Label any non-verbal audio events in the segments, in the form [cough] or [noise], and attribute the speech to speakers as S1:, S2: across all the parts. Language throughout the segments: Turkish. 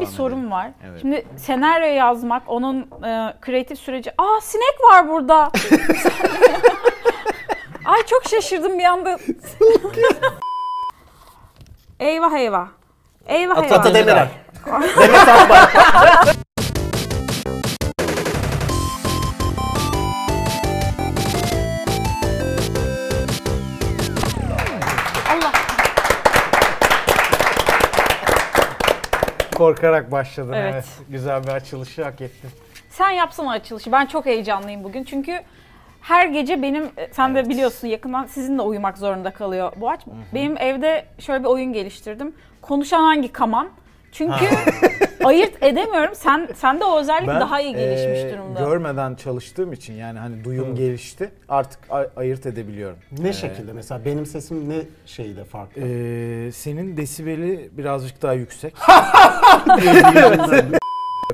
S1: bir
S2: Tahmin
S1: sorum var.
S2: Evet.
S1: Şimdi senaryo yazmak, onun e, kreatif süreci. Aa sinek var burada. [laughs] Ay çok şaşırdım bir anda. [laughs] eyvah eyvah. Eyvah eyvah.
S3: Ata Demirer.
S1: Allah.
S4: Korkarak başladın
S1: Evet.
S4: evet. Güzel bir açılışı hak ettin.
S1: Sen yapsana açılışı. Ben çok heyecanlıyım bugün. Çünkü her gece benim, e, sen de biliyorsun yakından sizinle uyumak zorunda kalıyor Boğaç. Benim evde şöyle bir oyun geliştirdim. Konuşan hangi kaman? Çünkü [laughs] ayırt edemiyorum. Sen sende o özellik daha iyi gelişmiş
S2: e,
S1: durumda.
S2: Görmeden çalıştığım için yani hani duyum
S3: Hı.
S2: gelişti. Artık a- ayırt edebiliyorum.
S3: Ne şekilde mesela benim sesim ne şeyde farklı?
S4: E,
S2: Ee, senin desibeli birazcık daha [laughs] yüksek.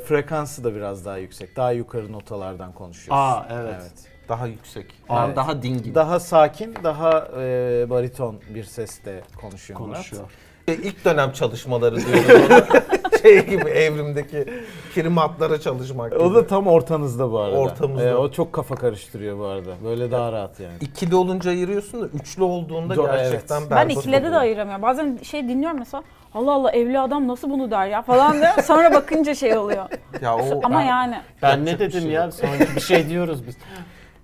S2: Frekansı da biraz daha yüksek. Daha yukarı notalardan konuşuyorsun.
S3: Aa evet. Daha yüksek. Aa,
S2: Evet.
S3: Daha dingin.
S2: Daha sakin, daha e, bariton bir sesle konuşuyor Murat.
S3: konuşuyor.
S5: E, İlk dönem çalışmaları diyoruz. ona. [laughs] şey gibi evrimdeki primatlara çalışmak gibi.
S2: O da tam ortanızda bu arada.
S5: Ortamızda.
S2: Ee, o çok kafa karıştırıyor bu arada. Böyle daha rahat yani.
S5: İkili olunca ayırıyorsun da üçlü olduğunda
S2: Do-
S5: gerçekten
S2: evet.
S1: ben
S5: berbat
S1: ikilede
S5: oluyor.
S1: de ayıramıyorum. Bazen şey dinliyorum mesela. Allah Allah evli adam nasıl bunu der ya falan diyorum. Sonra bakınca şey
S5: [laughs]
S1: oluyor.
S5: Ya o,
S1: Ama
S5: ben-
S1: yani
S3: Ben ne
S5: Yapacak bir
S3: dedim
S5: şey
S3: ya?
S5: yok.
S3: Sanki bir şey diyoruz [laughs] biz.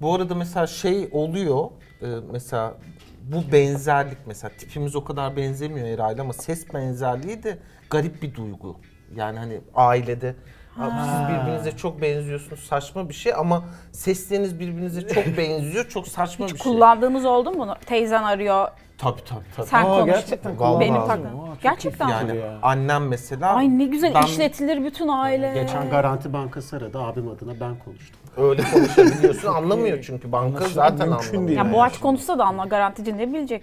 S5: Bu arada mesela şey oluyor. e, mesela bu benzerlik mesela tipimiz o kadar benzemiyor herhalde ama ses benzerliği de garip bir duygu. Yani hani ailede "Abi siz birbirinize çok benziyorsunuz saçma bir şey ama sesleriniz birbirinize
S1: [laughs]
S5: çok benziyor çok saçma bir şey.
S1: kullandığımız oldu mu bunu? Teyzen arıyor,
S5: Tabii tabii tabii.
S1: sen
S2: Aa,
S1: konuş.
S2: gerçekten
S5: Vallahi.
S1: Benim
S5: Aa,
S1: takım. Gerçekten.
S5: Yani
S2: ya.
S5: annem mesela
S1: Ay ne güzel
S5: ben
S1: işletilir bütün aile.
S3: Geçen Garanti Bankası aradı abim adına ben konuştum.
S5: öyle
S1: [laughs]
S5: konuşabiliyorsun anlamıyor çünkü banka zaten
S2: mümkün
S5: anlamıyor.
S2: değil.
S1: Ya
S2: Yani
S1: Boğaç konuşsa da anla garantici ne bilecek?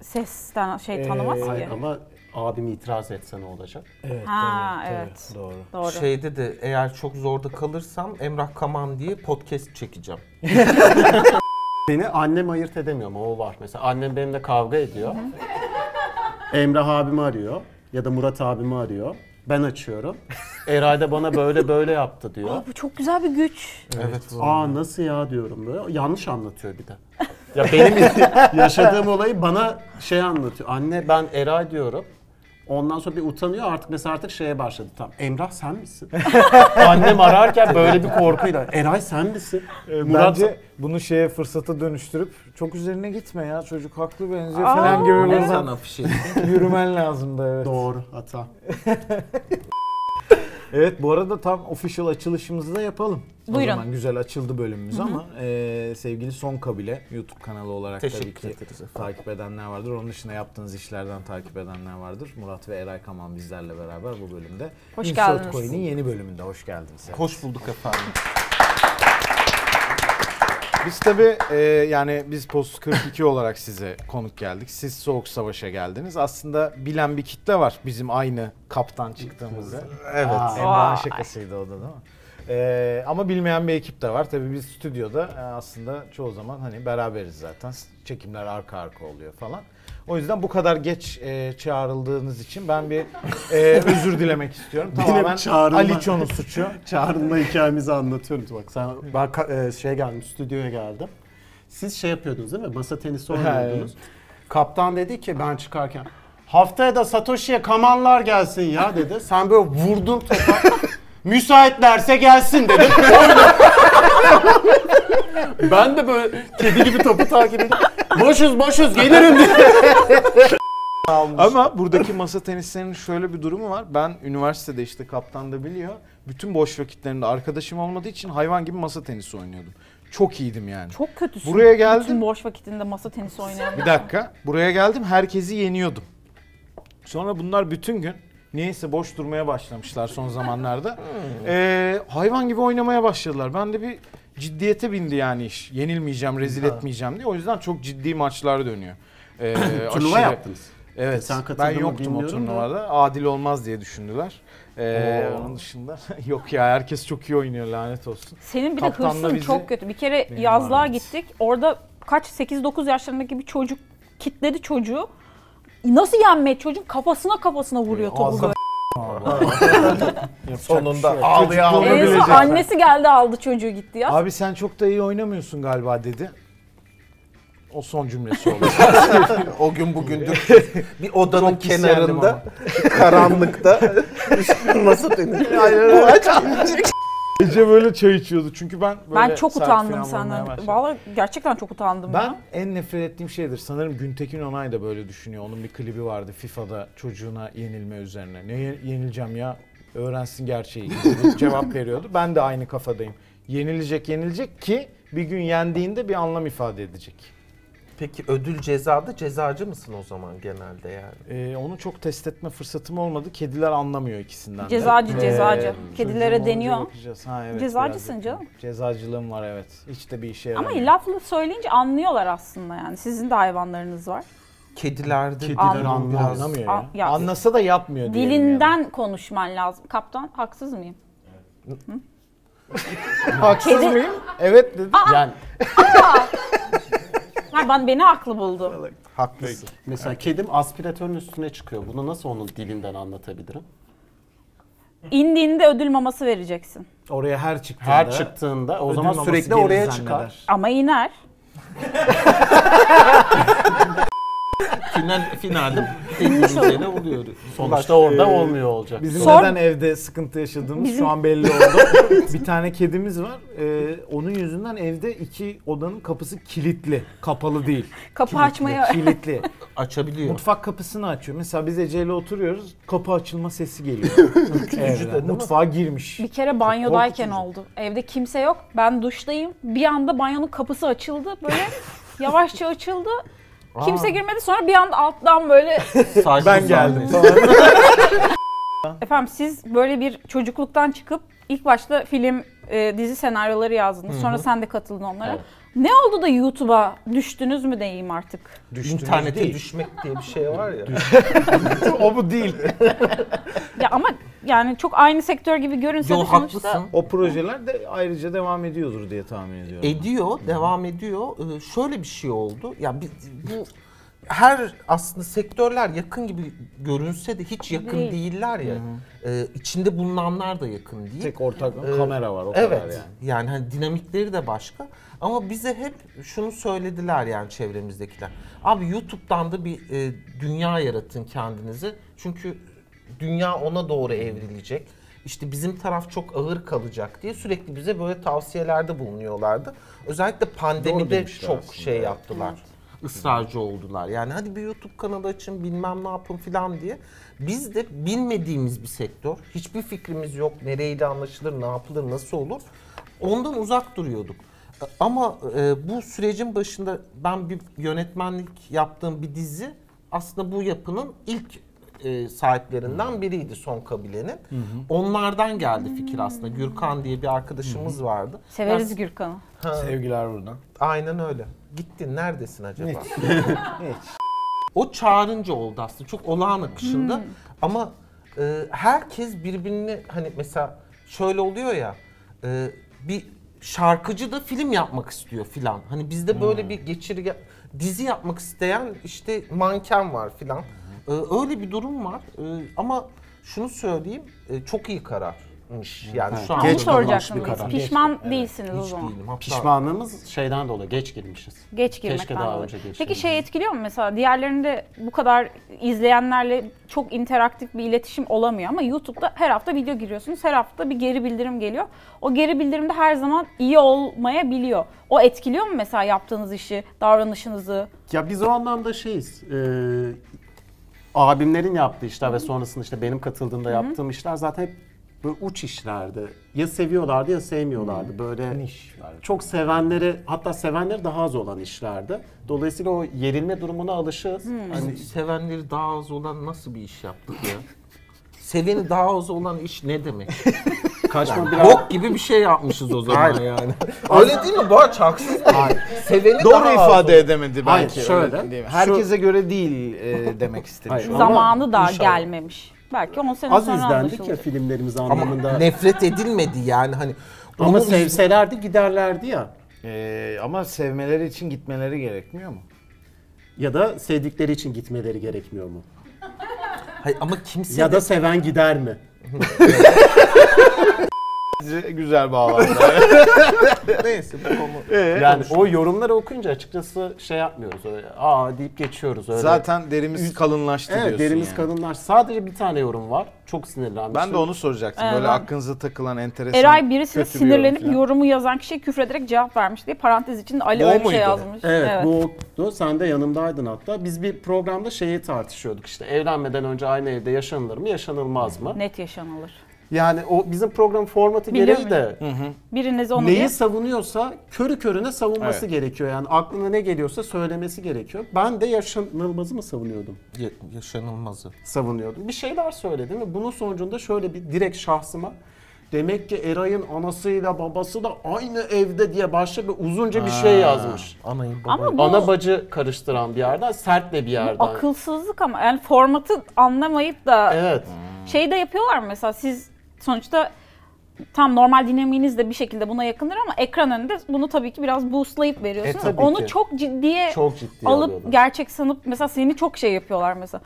S1: Sesten şey tanımaz
S2: Ee,
S1: ki.
S3: Hayır ama abim itiraz etse ne olacak?
S2: Evet,
S1: Ha,
S2: tabii,
S1: evet.
S2: tabii, doğru.
S1: Doğru.
S5: Şeyde de eğer çok zorda kalırsam Emrah Kaman diye podcast çekeceğim.
S3: Beni annem ayırt edemiyor ama o var. Mesela annem benimle kavga ediyor. Emrah abimi arıyor ya da Murat abimi arıyor. Ben [laughs] açıyorum. Eray da bana böyle böyle yaptı diyor.
S1: Aa, bu çok güzel bir güç.
S5: Evet.
S3: Aa nasıl ya diyorum böyle. Yanlış anlatıyor bir de. Ya benim yaşadığım olayı bana şey anlatıyor. Anne ben Eray diyorum. Ondan sonra bir utanıyor artık mesela artık şeye başladı tam. Emrah sen misin? [laughs] Annem ararken böyle bir korkuyla. Eray sen misin?
S1: Ee,
S3: Murat
S2: Bence bunu şeye fırsata dönüştürüp çok üzerine gitme ya çocuk haklı benziyor
S1: Aa,
S2: falan gibi
S1: evet.
S2: buradan
S5: [laughs]
S2: yürümen lazım da evet.
S3: doğru hata.
S2: Evet bu arada tam official açılışımızı da yapalım.
S1: Buyurun.
S2: O zaman güzel açıldı bölümümüz ama e, sevgili Son Kabile YouTube kanalı olarak
S5: Teşekkür
S2: tabii ki takip edenler vardır. Onun dışında yaptığınız işlerden takip edenler vardır. Murat ve Eray Kaman bizlerle beraber bu bölümde.
S1: Hoş
S2: Insert
S1: geldiniz.
S2: Coin'in yeni bölümünde hoş geldiniz. Evet.
S5: Hoş bulduk efendim.
S2: Biz tabii e, yani biz Post 42 olarak size konuk geldik. Siz Soğuk Savaş'a geldiniz. Aslında bilen bir kitle var bizim aynı kaptan çıktığımızda. Evet. Emrah'ın şakasıydı o da değil mi? E, ama bilmeyen bir ekip de var. Tabii biz stüdyoda e, aslında çoğu zaman hani beraberiz zaten. Çekimler arka arka oluyor falan. O yüzden bu kadar geç e, çağrıldığınız için ben bir e, özür dilemek istiyorum.
S3: Benim
S2: Tamamen
S3: çağrılma-
S2: Ali Çon'un
S3: [laughs]
S2: suçu.
S3: Çağrı'nla hikayemizi anlatıyorum. Bak sen ben ka- e, şey geldim, stüdyoya geldim. Siz şey yapıyordunuz değil mi? Masa tenisi oynuyordunuz. Kaptan dedi ki ben çıkarken haftaya da Satoshi'ye kamanlar gelsin ya dedi. Sen böyle vurdun [laughs] topa. Müsaitlerse gelsin dedim. ben de böyle kedi gibi topu takip edip boşuz boşuz gelirim dedim.
S2: Ama buradaki masa tenislerinin şöyle bir durumu var. Ben üniversitede işte kaptan da biliyor. Bütün boş vakitlerinde arkadaşım olmadığı için hayvan gibi masa tenisi oynuyordum. Çok iyiydim yani.
S1: Çok kötüsün.
S2: Buraya geldim.
S1: Bütün boş vakitinde masa tenisi oynayan.
S2: Bir dakika. Buraya geldim herkesi yeniyordum. Sonra bunlar bütün gün niyeyse boş durmaya başlamışlar son zamanlarda. Ee, hayvan gibi oynamaya başladılar. Ben de bir ciddiyete bindi yani iş. Yenilmeyeceğim, rezil etmeyeceğim diye. O yüzden çok ciddi maçlar dönüyor. Ee,
S3: [clears throat] Turnuva
S2: aşırı-
S3: yaptınız.
S2: Evet.
S3: Sen katıldın
S2: ben
S3: mı
S2: yoktum o
S3: bilmiyorum da.
S2: turnuvada. Adil olmaz diye düşündüler. Ee, onun dışında [laughs] yok ya herkes çok iyi oynuyor lanet olsun.
S1: Senin bir de
S2: Kaptanla
S1: hırsın
S2: bizi-
S1: çok kötü. Bir kere
S2: Benim
S1: yazlığa
S2: varmış.
S1: gittik. Orada kaç 8-9 yaşlarındaki bir çocuk kitledi çocuğu. Nasıl yenme? Çocuğun kafasına kafasına vuruyor topu. böyle.
S5: Sonunda
S3: Ağlıyor
S1: En son annesi geldi aldı çocuğu gitti ya.
S2: Abi sen çok da iyi oynamıyorsun galiba dedi. O son cümlesi
S3: [laughs]
S2: oldu.
S5: O gün bugündür bir odanın
S2: Çok isyandım
S5: kenarında karanlıkta nasıl denir? Bu aç.
S2: Gece böyle çay içiyordu çünkü ben böyle
S1: ben çok
S2: sert
S1: utandım
S2: falan olmaya
S1: senden.
S2: başladım.
S1: Vallahi gerçekten çok utandım
S2: Ben
S1: ya.
S2: en nefret ettiğim şeydir. Sanırım Güntekin Onay da böyle düşünüyor. Onun bir klibi vardı FIFA'da çocuğuna yenilme üzerine. Ne ye- yenileceğim ya? Öğrensin gerçeği [laughs] gibi bir cevap veriyordu. Ben de aynı kafadayım. Yenilecek yenilecek ki bir gün yendiğinde bir anlam ifade edecek.
S5: Peki ödül cezada cezacı mısın o zaman genelde yani?
S2: Ee, onu çok test etme fırsatım olmadı. Kediler anlamıyor ikisinden de. Ee,
S1: Cezacı, cezacı. Kedilere
S2: çocuğum olunca
S1: deniyor.
S2: bakacağız. Ha, evet,
S1: Cezacısın
S2: birazcık.
S1: canım.
S2: Cezacılığım var evet. Hiç de bir işe
S1: Ama
S2: yaramıyor.
S1: lafla söyleyince anlıyorlar aslında yani. Sizin de hayvanlarınız var.
S5: Kedilerde
S3: Kediler
S5: biraz-
S3: anlamaz.
S2: Anlamıyor
S1: An-
S2: ya.
S1: ya.
S2: Anlasa da yapmıyor diyelim yani.
S1: Dilinden konuşman lazım. Kaptan haksız mıyım?
S2: Haksız
S1: Kedi-
S2: mıyım? Evet dedi. Yani
S1: Ha, ben beni haklı buldu.
S5: Haklısın.
S3: Mesela kedim aspiratörün üstüne çıkıyor. Bunu nasıl onun dilinden anlatabilirim?
S1: İndiğinde ödül maması vereceksin.
S2: oraya her çıktığında.
S3: Her çıktığında o zaman
S2: maması
S3: sürekli
S2: gelir
S3: oraya
S2: zanneder.
S3: çıkar.
S1: Ama iner.
S5: Final,
S3: [laughs]
S5: finalde dediğimiz yere oluyor.
S3: Sonuçta orada olmuyor olacak.
S2: e, Bizim
S1: Sor-
S2: neden evde sıkıntı yaşadığımız
S1: Bizim-
S2: şu an belli oldu.
S1: [laughs]
S2: bir tane kedimiz var. Ee, onun yüzünden evde iki odanın kapısı kilitli. Kapalı değil.
S1: Kapı açmayı
S2: kilitli.
S5: Açabiliyor.
S2: Mutfak kapısını açıyor. Mesela biz Ece'yle oturuyoruz. Kapı açılma
S1: [laughs]
S2: sesi geliyor.
S5: de değil
S2: Evden.
S5: mi?
S2: Mutfağa
S1: [laughs]
S2: girmiş.
S1: bir kere banyodayken
S2: korkutucu.
S1: oldu. Evde kimse yok. Ben duştayım. Bir anda banyonun kapısı açıldı. Böyle yavaşça açıldı. Kimse girmedi. Sonra bir anda alttan böyle
S5: Sakin
S2: Ben geldim.
S5: sakin.
S2: Falan.
S1: Efendim siz böyle bir çocukluktan çıkıp ilk başta film, e, dizi senaryoları yazdınız. Sonra sen de katıldın onlara. Ne oldu da YouTube'a düştünüz mü diyeyim artık?
S2: Düştünüz
S5: İnternete
S2: değil.
S5: düşmek diye bir şey var ya.
S2: o bu değil.
S1: Ya ama yani çok aynı sektör gibi görünse
S5: Yo
S1: de sonuçta
S5: haklısın.
S2: O projeler de ayrıca devam ediyordur diye tahmin
S3: E,
S2: ediyorum.
S5: Ediyor, devam ediyor. Ee, şöyle bir şey oldu. Ya biz, bu her aslında sektörler yakın gibi görünse de hiç yakın
S1: Değil.
S5: değiller ya. Ee, içinde bulunanlar da yakın değil.
S2: Tek ortak
S3: e,
S2: kamera var o kadar
S5: Evet.
S2: yani.
S5: Yani, hani dinamikleri de başka. Ama bize hep şunu söylediler yani çevremizdekiler. Abi YouTube'dan da bir e, dünya yaratın kendinizi. Çünkü dünya ona doğru evrilecek. İşte bizim taraf çok ağır kalacak diye sürekli bize böyle tavsiyelerde bulunuyorlardı. Özellikle
S2: Doğru
S5: pandemide
S2: demişler
S5: çok
S2: aslında,
S5: şey yaptılar. ısrarcı oldular. Yani hadi bir YouTube kanalı açın bilmem ne yapın filan diye. Biz de bilmediğimiz bir sektör. Hiçbir fikrimiz yok. Nereyle anlaşılır, ne yapılır, nasıl olur. Ondan uzak duruyorduk. E, Ama e, bu sürecin başında ben bir yönetmenlik yaptığım bir dizi aslında bu yapının ilk e, sahiplerinden biriydi Son Kabile'nin. Onlardan geldi fikir aslında. Gürkan diye bir arkadaşımız vardı.
S1: severiz Gürkan'ı.
S2: Sevgiler buradan.
S5: Aynen öyle. Gittin neredesin acaba? [laughs] o çağrınca oldu aslında. Çok olağan akışında.
S1: Hmm.
S5: Ama e, herkes birbirini hani mesela şöyle oluyor ya e, bir şarkıcı da film yapmak istiyor filan. Hani bizde böyle bir geçirge dizi yapmak isteyen işte manken var filan. E, öyle bir durum var. E, ama şunu söyleyeyim e, çok iyi kararmış. Yani şu an
S1: Onu
S3: Geç kalınan
S1: soracaktım.
S3: bir karar.
S1: Pişman değilsiniz o
S5: hiç
S1: zaman.
S5: değilim. Hatta-
S3: Pişmanlığımız şeyden dolayı geç girmişiz.
S1: Geç girmekten
S3: Keşke daha
S1: dolayı.
S3: önce geçseydim.
S1: Peki şey etkiliyor mu mesela diğerlerinde bu kadar izleyenlerle çok interaktif bir iletişim olamıyor ama YouTube'da her hafta video giriyorsunuz. Her hafta bir geri bildirim geliyor. O geri bildirimde her zaman iyi olmayabiliyor. O etkiliyor mu mesela yaptığınız işi, davranışınızı?
S3: Ya biz o anlamda şeyiz. e, abimlerin yaptığı işler ve sonrasında işte benim katıldığımda yaptığım işler zaten hep böyle uç işlerdi. Ya seviyorlardı ya sevmiyorlardı. Böyle çok sevenleri hatta sevenleri daha az olan işlerdi. Dolayısıyla o yerilme durumuna alışığız. Hani
S5: Hani sevenleri daha az olan nasıl bir iş yaptık [laughs] ya? Seveni daha az olan iş ne [laughs] demek?
S3: kaçma biraz
S5: Bok gibi bir şey yapmışız o zaman yani. [laughs] Öyle değil mi Boğaç? Haksız mıyım? Seveni
S2: Doğru
S5: daha az
S2: ifade edemedi belki.
S3: Hayır,
S2: öyle
S3: şöyle.
S2: diyeyim. Herkese göre değil e, demek istemiş.
S3: Hayır.
S2: Ama
S1: Zamanı daha gelmemiş. Belki 10 sene
S3: az
S1: sonra
S3: izlendik ya
S1: anlaşılacak.
S3: filmlerimiz
S5: Ama
S3: anlamında.
S5: nefret edilmedi yani hani.
S3: Ama
S5: Onu-
S3: sevselerdi giderlerdi ya.
S2: e, ama sevmeleri için gitmeleri gerekmiyor mu?
S3: Ya da sevdikleri için gitmeleri gerekmiyor mu?
S5: Hayır, ama kimse
S3: Ya da seven gider mi?
S2: Güzel bağlandı.
S5: neyse bu konu.
S3: Yani o yorumları okunca açıkçası şey yapmıyoruz. Öyle, Aa deyip geçiyoruz
S2: [laughs]
S3: öyle.
S2: Zaten derimiz kalınlaştı
S3: evet,
S2: diyorsun
S3: derimiz
S2: yani.
S3: kadınlar. Sadece bir tane yorum var. Çok sinirlenmiştim.
S2: Ben de onu soracaktım.
S1: Ee,
S2: Böyle
S1: ben-
S2: aklınıza takılan enteresan
S1: Eray birisine
S2: kötü bir yorum
S1: sinirlenip
S2: falan.
S1: yorumu yazan kişiye küfrederek cevap vermiş diye parantez içinde Ali
S2: O
S1: öyle bir şey
S2: muydu?
S1: yazmış.
S3: Evet, bu oldu. Sen de yanımdaydın hatta. Biz bir programda şeyi tartışıyorduk işte. Evlenmeden önce aynı evde yaşanılır mı, yaşanılmaz mı?
S1: Net yaşanılır.
S3: Yani o bizim program formatı
S1: Biliyor
S3: gereği de
S1: Biriniz onu
S3: neyi
S1: diye-
S3: savunuyorsa körü körüne savunması
S2: Evet.
S3: gerekiyor. Yani aklına ne geliyorsa söylemesi gerekiyor. Ben de yaşanılmazı mı savunuyordum?
S5: Ya- yaşanılmazı.
S3: savunuyordum. Bir şeyler söyledim ve bunun sonucunda şöyle bir direkt şahsıma demek ki Eray'ın anasıyla babası da aynı evde diye başka bir uzunca bir şey yazmış.
S5: Anayı babayı.
S1: Ama bu
S3: Ana bacı karıştıran bir yerden, sert de bir yerden.
S1: akılsızlık ama yani formatı anlamayıp da
S3: Evet.
S1: şey de yapıyorlar mı? mesela siz sonuçta tam normal dinamiğiniz de bir şekilde buna yakındır ama ekran önünde bunu tabii ki biraz boostlayıp veriyorsunuz.
S3: E, tabii
S1: Onu
S3: ki.
S1: çok ciddiye
S3: Çok ciddiye
S1: alıp
S3: alıyorlar.
S1: gerçek sanıp mesela seni çok şey yapıyorlar mesela.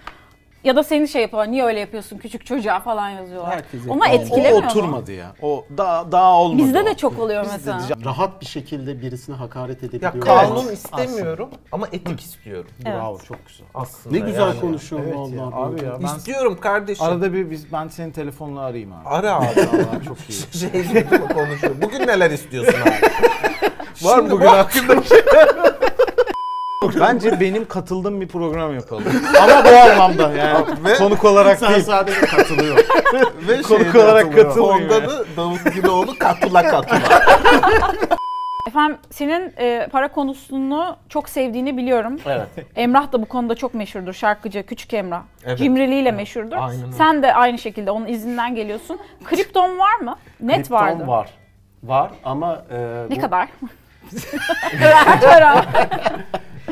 S1: Ya da seni şey yapıyorlar. Niye öyle yapıyorsun küçük çocuğa falan yazıyorlar.
S3: Herkese
S1: Ona
S3: yapıyorlar.
S1: etkilemiyor
S2: O
S1: mu?
S2: oturmadı ya. O daha daha olmadı.
S1: Bizde
S2: o.
S1: de çok oluyor
S2: Bizde
S1: mesela.
S2: de-
S3: Rahat bir şekilde birisine hakaret edebiliyor.
S5: Ya kanun
S3: olmak.
S5: istemiyorum ama etik istiyorum
S1: Evet.
S3: Bravo çok güzel.
S5: aslında.
S3: Ne güzel
S5: yani.
S3: konuşuyor
S4: Evet
S3: vallahi.
S4: ya, abi ya ben
S5: İstiyorum kardeşim.
S2: Arada bir biz ben senin telefonla arayayım abi.
S5: Ara [laughs] abi.
S2: Vallahi çok iyi.
S5: şey gibi konuşuyor. Bugün neler istiyorsun abi?
S2: Var
S5: Şimdi
S2: bugün
S5: bak-
S2: hakkında bir şey. Bence benim katıldığım bir program yapalım. [laughs] Ama bu anlamda yani. konuk olarak
S3: Sen
S2: değil.
S3: sadece katılıyor.
S5: Ve
S2: Konuk
S5: şeyde
S2: olarak
S5: hatırlıyorum,
S2: katılmıyor
S5: Onda
S2: yani.
S5: da Davut Güloğlu katula katula.
S1: Efendim senin e, para konusunu çok sevdiğini biliyorum.
S3: evet.
S1: Emrah da bu konuda çok meşhurdur şarkıcı Küçük Emrah.
S5: Evet.
S1: Cimriliğiyle meşhurdur.
S5: Aynen öyle.
S1: Sen de aynı şekilde onun izinden geliyorsun. Kripton var mı? Net
S3: Lipton
S1: vardı.
S3: var. Var ama e,
S1: Ne kadar? Kaç para?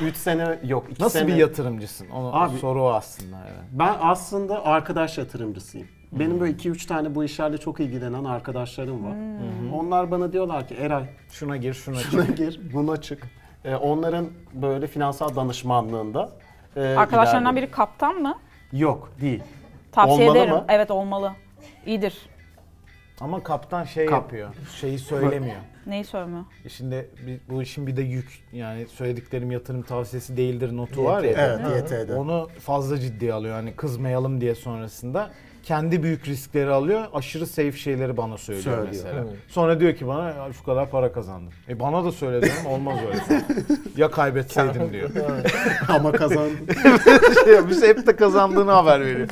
S3: 3 sene yok. iki
S2: Nasıl
S3: sene...
S2: bir yatırımcısın? Onu
S3: Abi-
S2: soru o aslında. yani.
S3: Ben aslında arkadaş yatırımcısıyım. Benim böyle 2-3 tane bu işlerle çok ilgilenen arkadaşlarım var.
S1: Hmm.
S3: Onlar bana diyorlar ki Eray
S2: Şuna gir, şuna çık.
S3: şuna gir, buna çık. Ee, onların böyle finansal danışmanlığında e,
S1: Arkadaşlarından
S3: ilerliyorum.
S1: biri kaptan mı?
S3: Yok değil.
S1: Tavsiye
S3: Olmalı
S1: ederim.
S3: mı?
S1: Evet olmalı. İyidir.
S2: Ama kaptan şey
S3: Kap.
S2: yapıyor. Şeyi söylemiyor.
S1: Neyi söylemiyor?
S2: E Şimdi bir- bu işin bir de yük yani söylediklerim yatırım tavsiyesi değildir notu var ya.
S3: YT'de.
S2: Onu fazla ciddiye alıyor hani kızmayalım diye sonrasında. Kendi büyük riskleri alıyor. Aşırı safe şeyleri bana söylüyor,
S3: Söylüyor.
S2: mesela. Sonra diyor ki bana "Ya şu kadar para kazandım. E bana da söyle diyorum olmaz öyle. [laughs] ya kaybetseydim [laughs] diyor.
S3: Ama kazandım.
S2: Biz hep de kazandığını haber veriyor.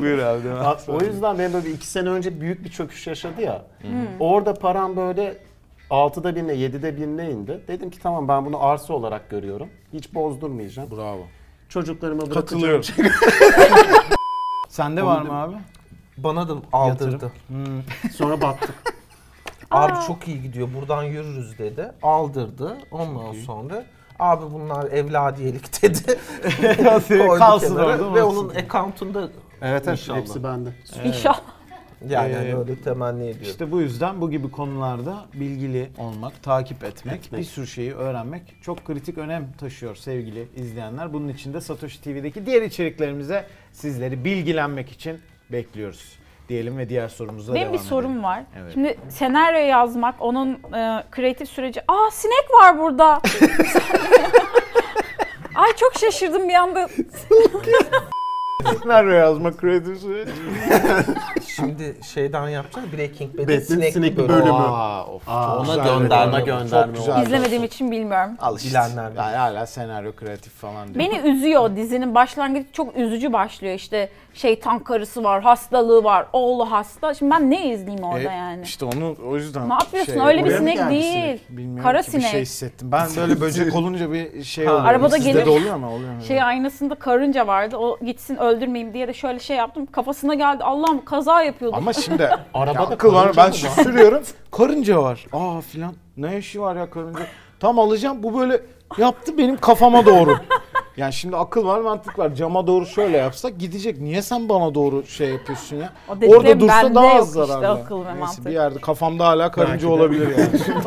S2: Buyur abi. devam.
S3: Ya, o yüzden benim böyle 2 sene önce büyük bir çöküş yaşadı ya.
S1: Hmm.
S3: Orada param böyle 6'da birine 7'de birine indi. Dedim ki tamam ben bunu arsa olarak görüyorum. Hiç bozdurmayacağım.
S2: Bravo.
S3: Çocuklarıma bırakacağım.
S2: Katılıyorum. Sende var mı abi?
S5: Bana da aldırdı.
S2: Yatırım.
S3: Sonra battık.
S5: Abi çok iyi gidiyor buradan yürürüz dedi. Aldırdı. Ondan sonra abi bunlar evladiyelik [laughs] dedi. Koydu
S2: Kalsın
S5: kenara
S2: orada,
S5: Ve
S2: olsun.
S5: onun accountunda
S3: Evet
S5: evet.
S3: Hepsi bende.
S1: İnşallah.
S5: yani
S2: Ee,
S5: hani öyle temenni ediyorum.
S2: İşte bu yüzden bu gibi konularda bilgili olmak, takip etmek, bir sürü şeyi öğrenmek çok kritik önem taşıyor sevgili izleyenler. Bunun için de Satoshi TV'deki diğer içeriklerimize sizleri bilgilenmek için bekliyoruz diyelim ve diğer sorumuza
S1: Benim
S2: devam
S1: bir sorum
S2: edelim.
S1: var.
S2: Evet.
S1: Şimdi senaryo yazmak, onun e, kreatif süreci. Aa sinek var
S2: [laughs]
S1: burada. Ay çok şaşırdım bir anda.
S2: Senaryo yazma kredisi.
S5: Şimdi şeyden yapacağız Breaking Bad'in
S3: Bad'in
S5: sinekli,
S3: sinekli
S5: bölümü. [laughs]
S3: bölümü.
S2: Aa, of, çok
S5: ona
S2: güzel bir
S5: gönderme
S2: konu.
S5: bu, çok
S2: Çok
S3: gönderme
S2: güzel.
S3: oldu.
S2: bir
S1: İzlemediğim
S2: konu.
S1: için bilmiyorum.
S2: Al işte.
S5: Bilenler bilir.
S2: Yani hala senaryo kreatif falan diyor.
S1: Beni üzüyor dizinin başlangıcı çok üzücü başlıyor işte şeytan karısı var hastalığı var oğlu hasta şimdi ben ne izleyeyim orada
S2: E,
S1: yani
S2: İşte onu o yüzden. şey
S1: ne yapıyorsun öyle bir
S3: oraya mı
S1: sinek
S3: geldi
S1: değil
S3: sinek?
S2: Bilmiyorum
S1: kara
S2: ki, Bir
S1: sinek
S2: şey hissettim.
S1: [laughs]
S2: Ben böyle böcek olunca bir şey oluyor.
S1: arabada
S2: Sizde
S1: gelir-
S2: de oluyor mu? Oluyor mu?
S1: şey aynasında karınca vardı o gitsin öldürmeyeyim diye de şöyle şey yaptım kafasına geldi Allah'ım kaza yapıyordum [laughs]
S2: Ama şimdi
S3: Arabada
S2: arabada akıl var.
S3: karınca
S2: Ben
S3: mı
S2: şu sürüyorum. Karınca var. Aa [laughs] filan. Ne işi var ya karınca? Tam alacağım. Bu böyle yaptı benim kafama doğru. Yani şimdi akıl var mantık var. Cama doğru şöyle yapsak gidecek. Niye sen bana doğru şey yapıyorsun ya?
S1: O dediğim
S2: Orada dursa
S1: bende
S2: daha
S1: yok
S2: az
S1: işte,
S2: zararlı.
S1: akıl ve mantık.
S2: bir yerde kafamda hala karınca olabilir yani.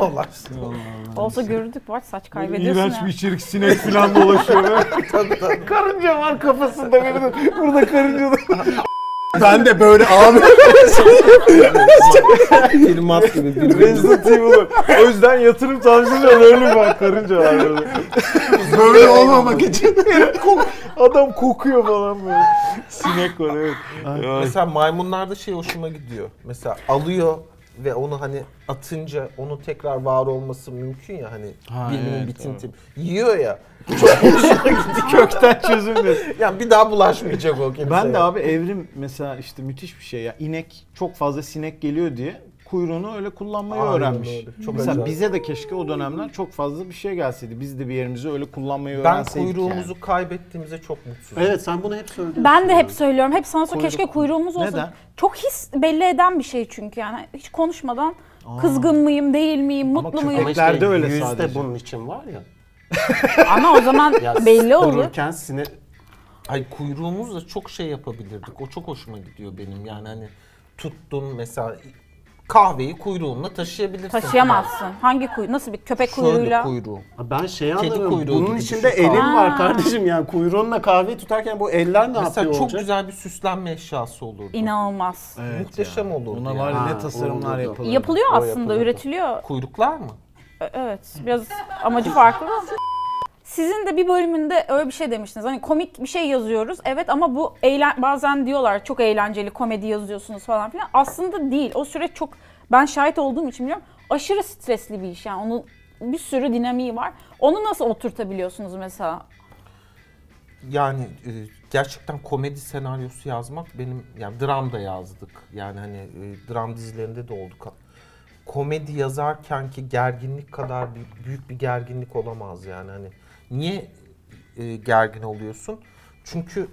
S1: [laughs] Olsa görürdük Boğaç saç kaybediyorsun ya.
S2: içerik sinek
S1: [laughs]
S2: falan dolaşıyor.
S4: Karınca var kafasında birinin. Burada karınca da.
S3: Ben de böyle abi.
S5: Filmat gibi birbirimizi
S2: Resident Evil'ı. [laughs] O yüzden yatırım tavsiyesi öyle bak karınca var böyle.
S3: böyle olmamak için.
S2: [laughs] Adam kokuyor falan böyle. Sinek var evet.
S5: Mesela maymunlarda şey hoşuma gidiyor. Mesela alıyor ve onu hani atınca onun tekrar var olması mümkün ya hani bilimin
S2: evet,
S5: bitinti. Yiyor ya.
S2: Kökten çözüm dedi.
S5: Yani bir daha bulaşmayacak o kimseye.
S6: Ben de abi evrim mesela işte müthiş bir şey ya. İnek çok fazla sinek geliyor diye kuyruğunu öyle kullanmayı
S5: Aynen
S6: öğrenmiş.
S5: öyle. Çok
S6: mesela
S5: acayip.
S6: bize de keşke o dönemler çok fazla bir şey gelseydi. Biz de bir yerimizi öyle kullanmayı
S5: ben
S6: öğrenseydik.
S5: kuyruğumuzu
S6: yani.
S5: kaybettiğimize çok mutsuzum.
S3: Evet sen bunu hep söylüyorsun.
S1: Ben de hep söylüyorum. Hep sana söylüyorum. keşke
S6: Kuyruk-
S1: kuyruğumuz olsa.
S6: Neden?
S1: Çok his belli eden bir şey çünkü yani. Hiç konuşmadan kızgın mıyım, değil miyim, mutlu
S6: köpekler-
S1: muyum?
S6: Köpeklerde öyle
S3: yüz de
S6: sadece.
S3: bunun için var ya.
S1: Ama o zaman belli olur.
S3: Dururken sinir...
S5: Ay kuyruğumuzla çok şey yapabilirdik. O çok hoşuma gidiyor benim. Yani hani tuttun mesela kahveyi kuyruğunla taşıyabilirsin.
S1: Taşıyamazsın. Hangi kuyu? Nasıl bir köpek
S5: Şöyle
S1: kuyruğuyla?
S5: kuyruğu.
S3: Ben şey
S5: Kedi
S3: anlamıyorum.
S5: kuyruğu
S3: Bunun
S5: gibi
S3: içinde
S5: düşün.
S3: elin
S1: Aa.
S3: var kardeşim yani kuyruğunla kahveyi tutarken bu eller ne
S5: Mesela
S3: yapıyor
S5: çok
S3: olacak?
S5: güzel bir süslenme eşyası olurdu.
S1: İnanılmaz.
S6: Evet
S5: Muhteşem olurdu.
S6: Buna
S5: yani.
S6: var ya
S3: Ha,
S6: ne tasarımlar
S3: olurdu.
S6: yapılır.
S1: Yapılıyor
S5: O
S1: aslında,
S5: yapılırdı.
S1: üretiliyor.
S5: Kuyruklar mı?
S1: Ö- Evet, biraz amacı farklı. da. Sizin de bir bölümünde öyle bir şey demiştiniz. Hani komik bir şey yazıyoruz. Evet ama bu eğlen bazen diyorlar çok eğlenceli komedi yazıyorsunuz falan filan. Aslında değil. O süreç çok ben şahit olduğum için biliyorum. Aşırı stresli bir iş yani. Onun bir sürü dinamiği var. Onu nasıl oturtabiliyorsunuz mesela?
S5: Yani e, gerçekten komedi senaryosu yazmak benim yani dram da yazdık. Yani hani e, dram dizilerinde de olduk. Komedi yazarken ki gerginlik kadar bir- büyük bir gerginlik olamaz yani hani. Niye e, gergin oluyorsun? Çünkü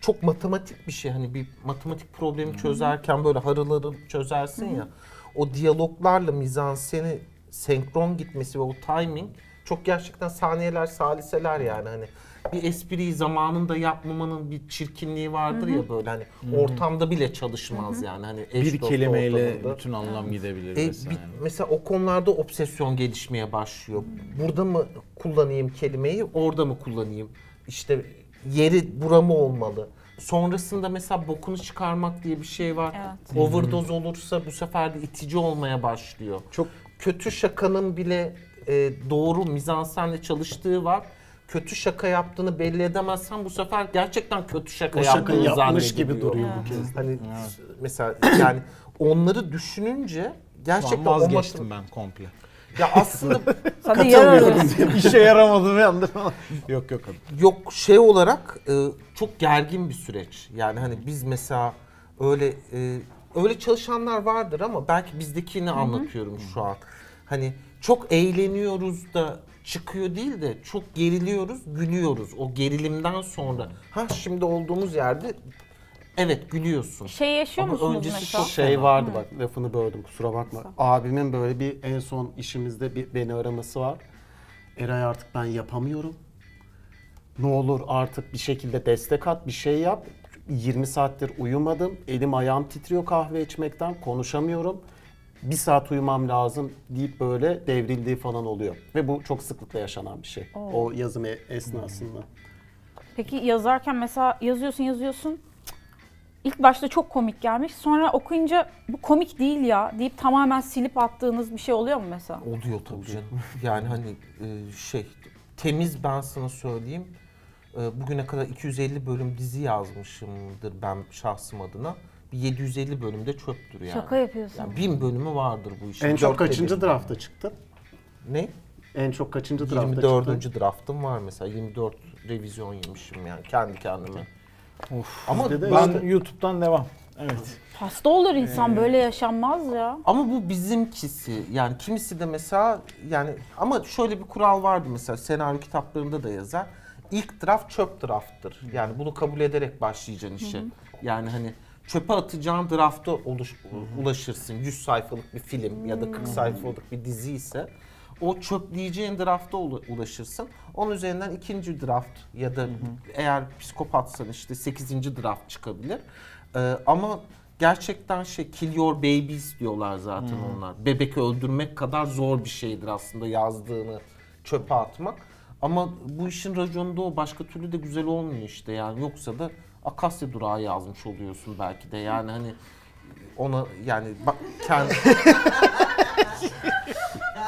S5: çok matematik bir şey hani bir matematik problemi çözerken böyle harıları çözersin ya. O diyaloglarla mizanseni senkron gitmesi ve o timing çok gerçekten saniyeler saliseler yani hani bir espriyi zamanında yapmamanın bir çirkinliği vardır ya böyle hani ortamda bile çalışmaz yani hani eş
S6: Bir
S5: dost
S6: kelimeyle
S5: ortamında.
S6: bütün anlam gidebilir
S5: E,
S6: mesela.
S5: bir- mesela o konularda obsesyon gelişmeye başlıyor. Burada mı kullanayım kelimeyi, orada mı kullanayım? İşte yeri bura mı olmalı? Sonrasında mesela bokunu çıkarmak diye bir şey var.
S1: Evet.
S5: Overdose olursa bu sefer de itici olmaya başlıyor.
S6: Çok-
S5: kötü şakanın bile e, doğru mizansenle çalıştığı var. Kötü şaka yaptığını belli edemezsen bu sefer gerçekten kötü şaka
S3: O şaka
S5: yaptığını
S3: yapmış gibi
S5: zannediliyor.
S3: duruyor bu kez.
S5: Hani s- mesela yani onları düşününce
S6: Şu an
S5: gerçekten o
S6: vazgeçtim
S5: matematik-
S6: ben komple.
S5: Ya aslında
S1: Sana yer
S6: [laughs]
S1: arıyoruz.
S6: İşe yaramadı ve anladım. yok yok abi.
S5: yok şey olarak e, çok gergin bir süreç. Yani hani biz mesela öyle e, öyle çalışanlar vardır ama belki bizdekini anlatıyorum şu an. Hani çok eğleniyoruz da çıkıyor değil de çok geriliyoruz, gülüyoruz. O gerilimden sonra ha şimdi olduğumuz yerde evet gülüyorsun.
S1: Şey yaşıyor
S5: Ama
S1: musunuz
S5: öncesi
S1: mesela?
S5: çok
S3: şey vardı bak lafını böldüm kusura bakma. Abimin böyle bir en son işimizde bir beni araması var. Eray artık ben yapamıyorum. Ne olur artık bir şekilde destek at, bir şey yap. 20 saattir uyumadım. Elim ayağım titriyor kahve içmekten. Konuşamıyorum. Bir saat uyumam lazım deyip böyle devrildiği falan oluyor. Ve bu çok sıklıkla yaşanan bir şey. O yazım e- esnasında.
S1: Peki yazarken mesela yazıyorsun yazıyorsun. Cık. İlk başta çok komik gelmiş. Sonra okuyunca bu komik değil ya deyip tamamen silip attığınız bir şey oluyor mu mesela?
S5: Oluyor tabii canım. [laughs] Yani hani e, şey temiz ben sana söyleyeyim. E, Bugüne kadar 250 bölüm dizi yazmışımdır ben şahsım adına. Bir 750 bölümde çöptür yani.
S1: Şaka yapıyorsun.
S5: Yani bin bölümü vardır bu işin.
S3: En çok
S5: Dörtte
S3: kaçıncı
S5: bir.
S3: drafta çıktın?
S5: Ne?
S3: En çok kaçıncı drafta çıktın?
S5: 24. draftım var mesela. 24 revizyon yemişim yani kendi kendime. Ama
S3: Bizde de
S5: ben-
S3: işte-
S2: Ben YouTube'dan devam. Evet.
S1: Hasta olur insan böyle yaşanmaz ya.
S5: Ama bu bizimkisi. Yani kimisi de mesela yani ama şöyle bir kural vardı mesela senaryo kitaplarında da yazar. İlk draft çöp drafttır. Yani bunu kabul ederek başlayacaksın işe. Yani hani çöpe atacağın drafta oluş- ulaşırsın. 100 sayfalık bir film ya da 40 sayfalık bir dizi ise O çöpleyeceğin drafta ula- ulaşırsın. Onun üzerinden ikinci draft ya da eğer psikopatsan işte sekizinci draft çıkabilir. Ee, ama gerçekten şey kill your babies diyorlar zaten onlar. Bebek öldürmek kadar zor bir şeydir aslında yazdığını çöpe atmak. Ama bu işin raconunda o başka türlü de güzel olmuyor işte yani yoksa da Akasya durağı yazmış oluyorsun belki de yani hani ona yani bak kendi...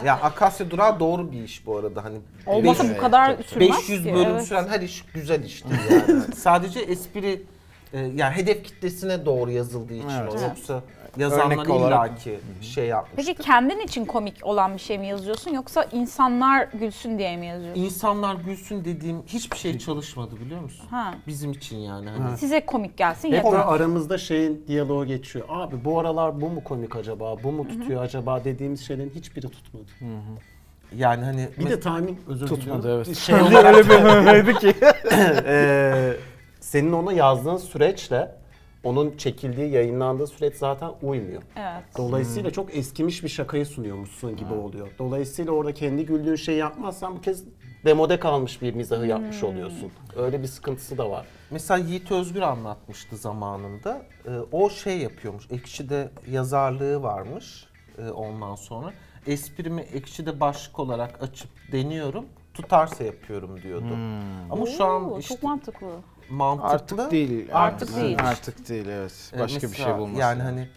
S5: ya Akasya durağı doğru bir iş bu arada hani
S1: Olmasa
S5: beş-
S1: bu kadar sürmez
S5: 500
S1: ki.
S5: bölüm
S1: evet.
S5: süren her iş güzel işti [laughs] yani. Sadece espri e, yani hedef kitlesine doğru yazıldığı için o yoksa yazanlar
S2: Örnek olarak-
S5: illaki şey yapmış.
S1: Peki kendin için komik olan bir şey mi yazıyorsun yoksa insanlar gülsün diye mi yazıyorsun?
S5: İnsanlar gülsün dediğim hiçbir şey çalışmadı biliyor musun?
S1: Ha.
S5: Bizim için yani. Hani
S1: Size komik gelsin
S3: Hep
S1: yeter.
S3: böyle aramızda şeyin diyaloğu geçiyor. Abi bu aralar bu mu komik acaba, bu mu tutuyor acaba dediğimiz şeylerin hiçbiri tutmadı.
S5: Yani hani
S3: Bir de tahmin özür
S2: Tutmadı,
S3: diliyorum.
S2: evet.
S3: Şey [laughs] olarak,
S5: [laughs]
S3: öyle bir ki. Ee, senin ona yazdığın süreçle onun çekildiği, yayınlandığı süreç zaten uymuyor.
S1: Evet.
S3: Dolayısıyla çok eskimiş bir şakayı sunuyormuşsun gibi oluyor. Dolayısıyla orada kendi güldüğün şeyi yapmazsan bu kez demode kalmış bir mizahı yapmış oluyorsun. Öyle bir sıkıntısı da var.
S5: Mesela Yiğit Özgür anlatmıştı zamanında. Ee, o şey yapıyormuş. Ekşi'de yazarlığı varmış e, ondan sonra. Esprimi Ekşi'de başlık olarak açıp deniyorum. Tutarsa yapıyorum diyordu. Ama şu an
S1: Oo,
S5: işte
S1: Çok mantıklı.
S5: mantıklı.
S2: Hmm. Artık değil.
S1: Artık
S2: yani.
S1: değil.
S2: Artık değil evet.
S5: E,
S2: Başka bir
S5: mesela
S2: şey bulması.
S5: Yani hani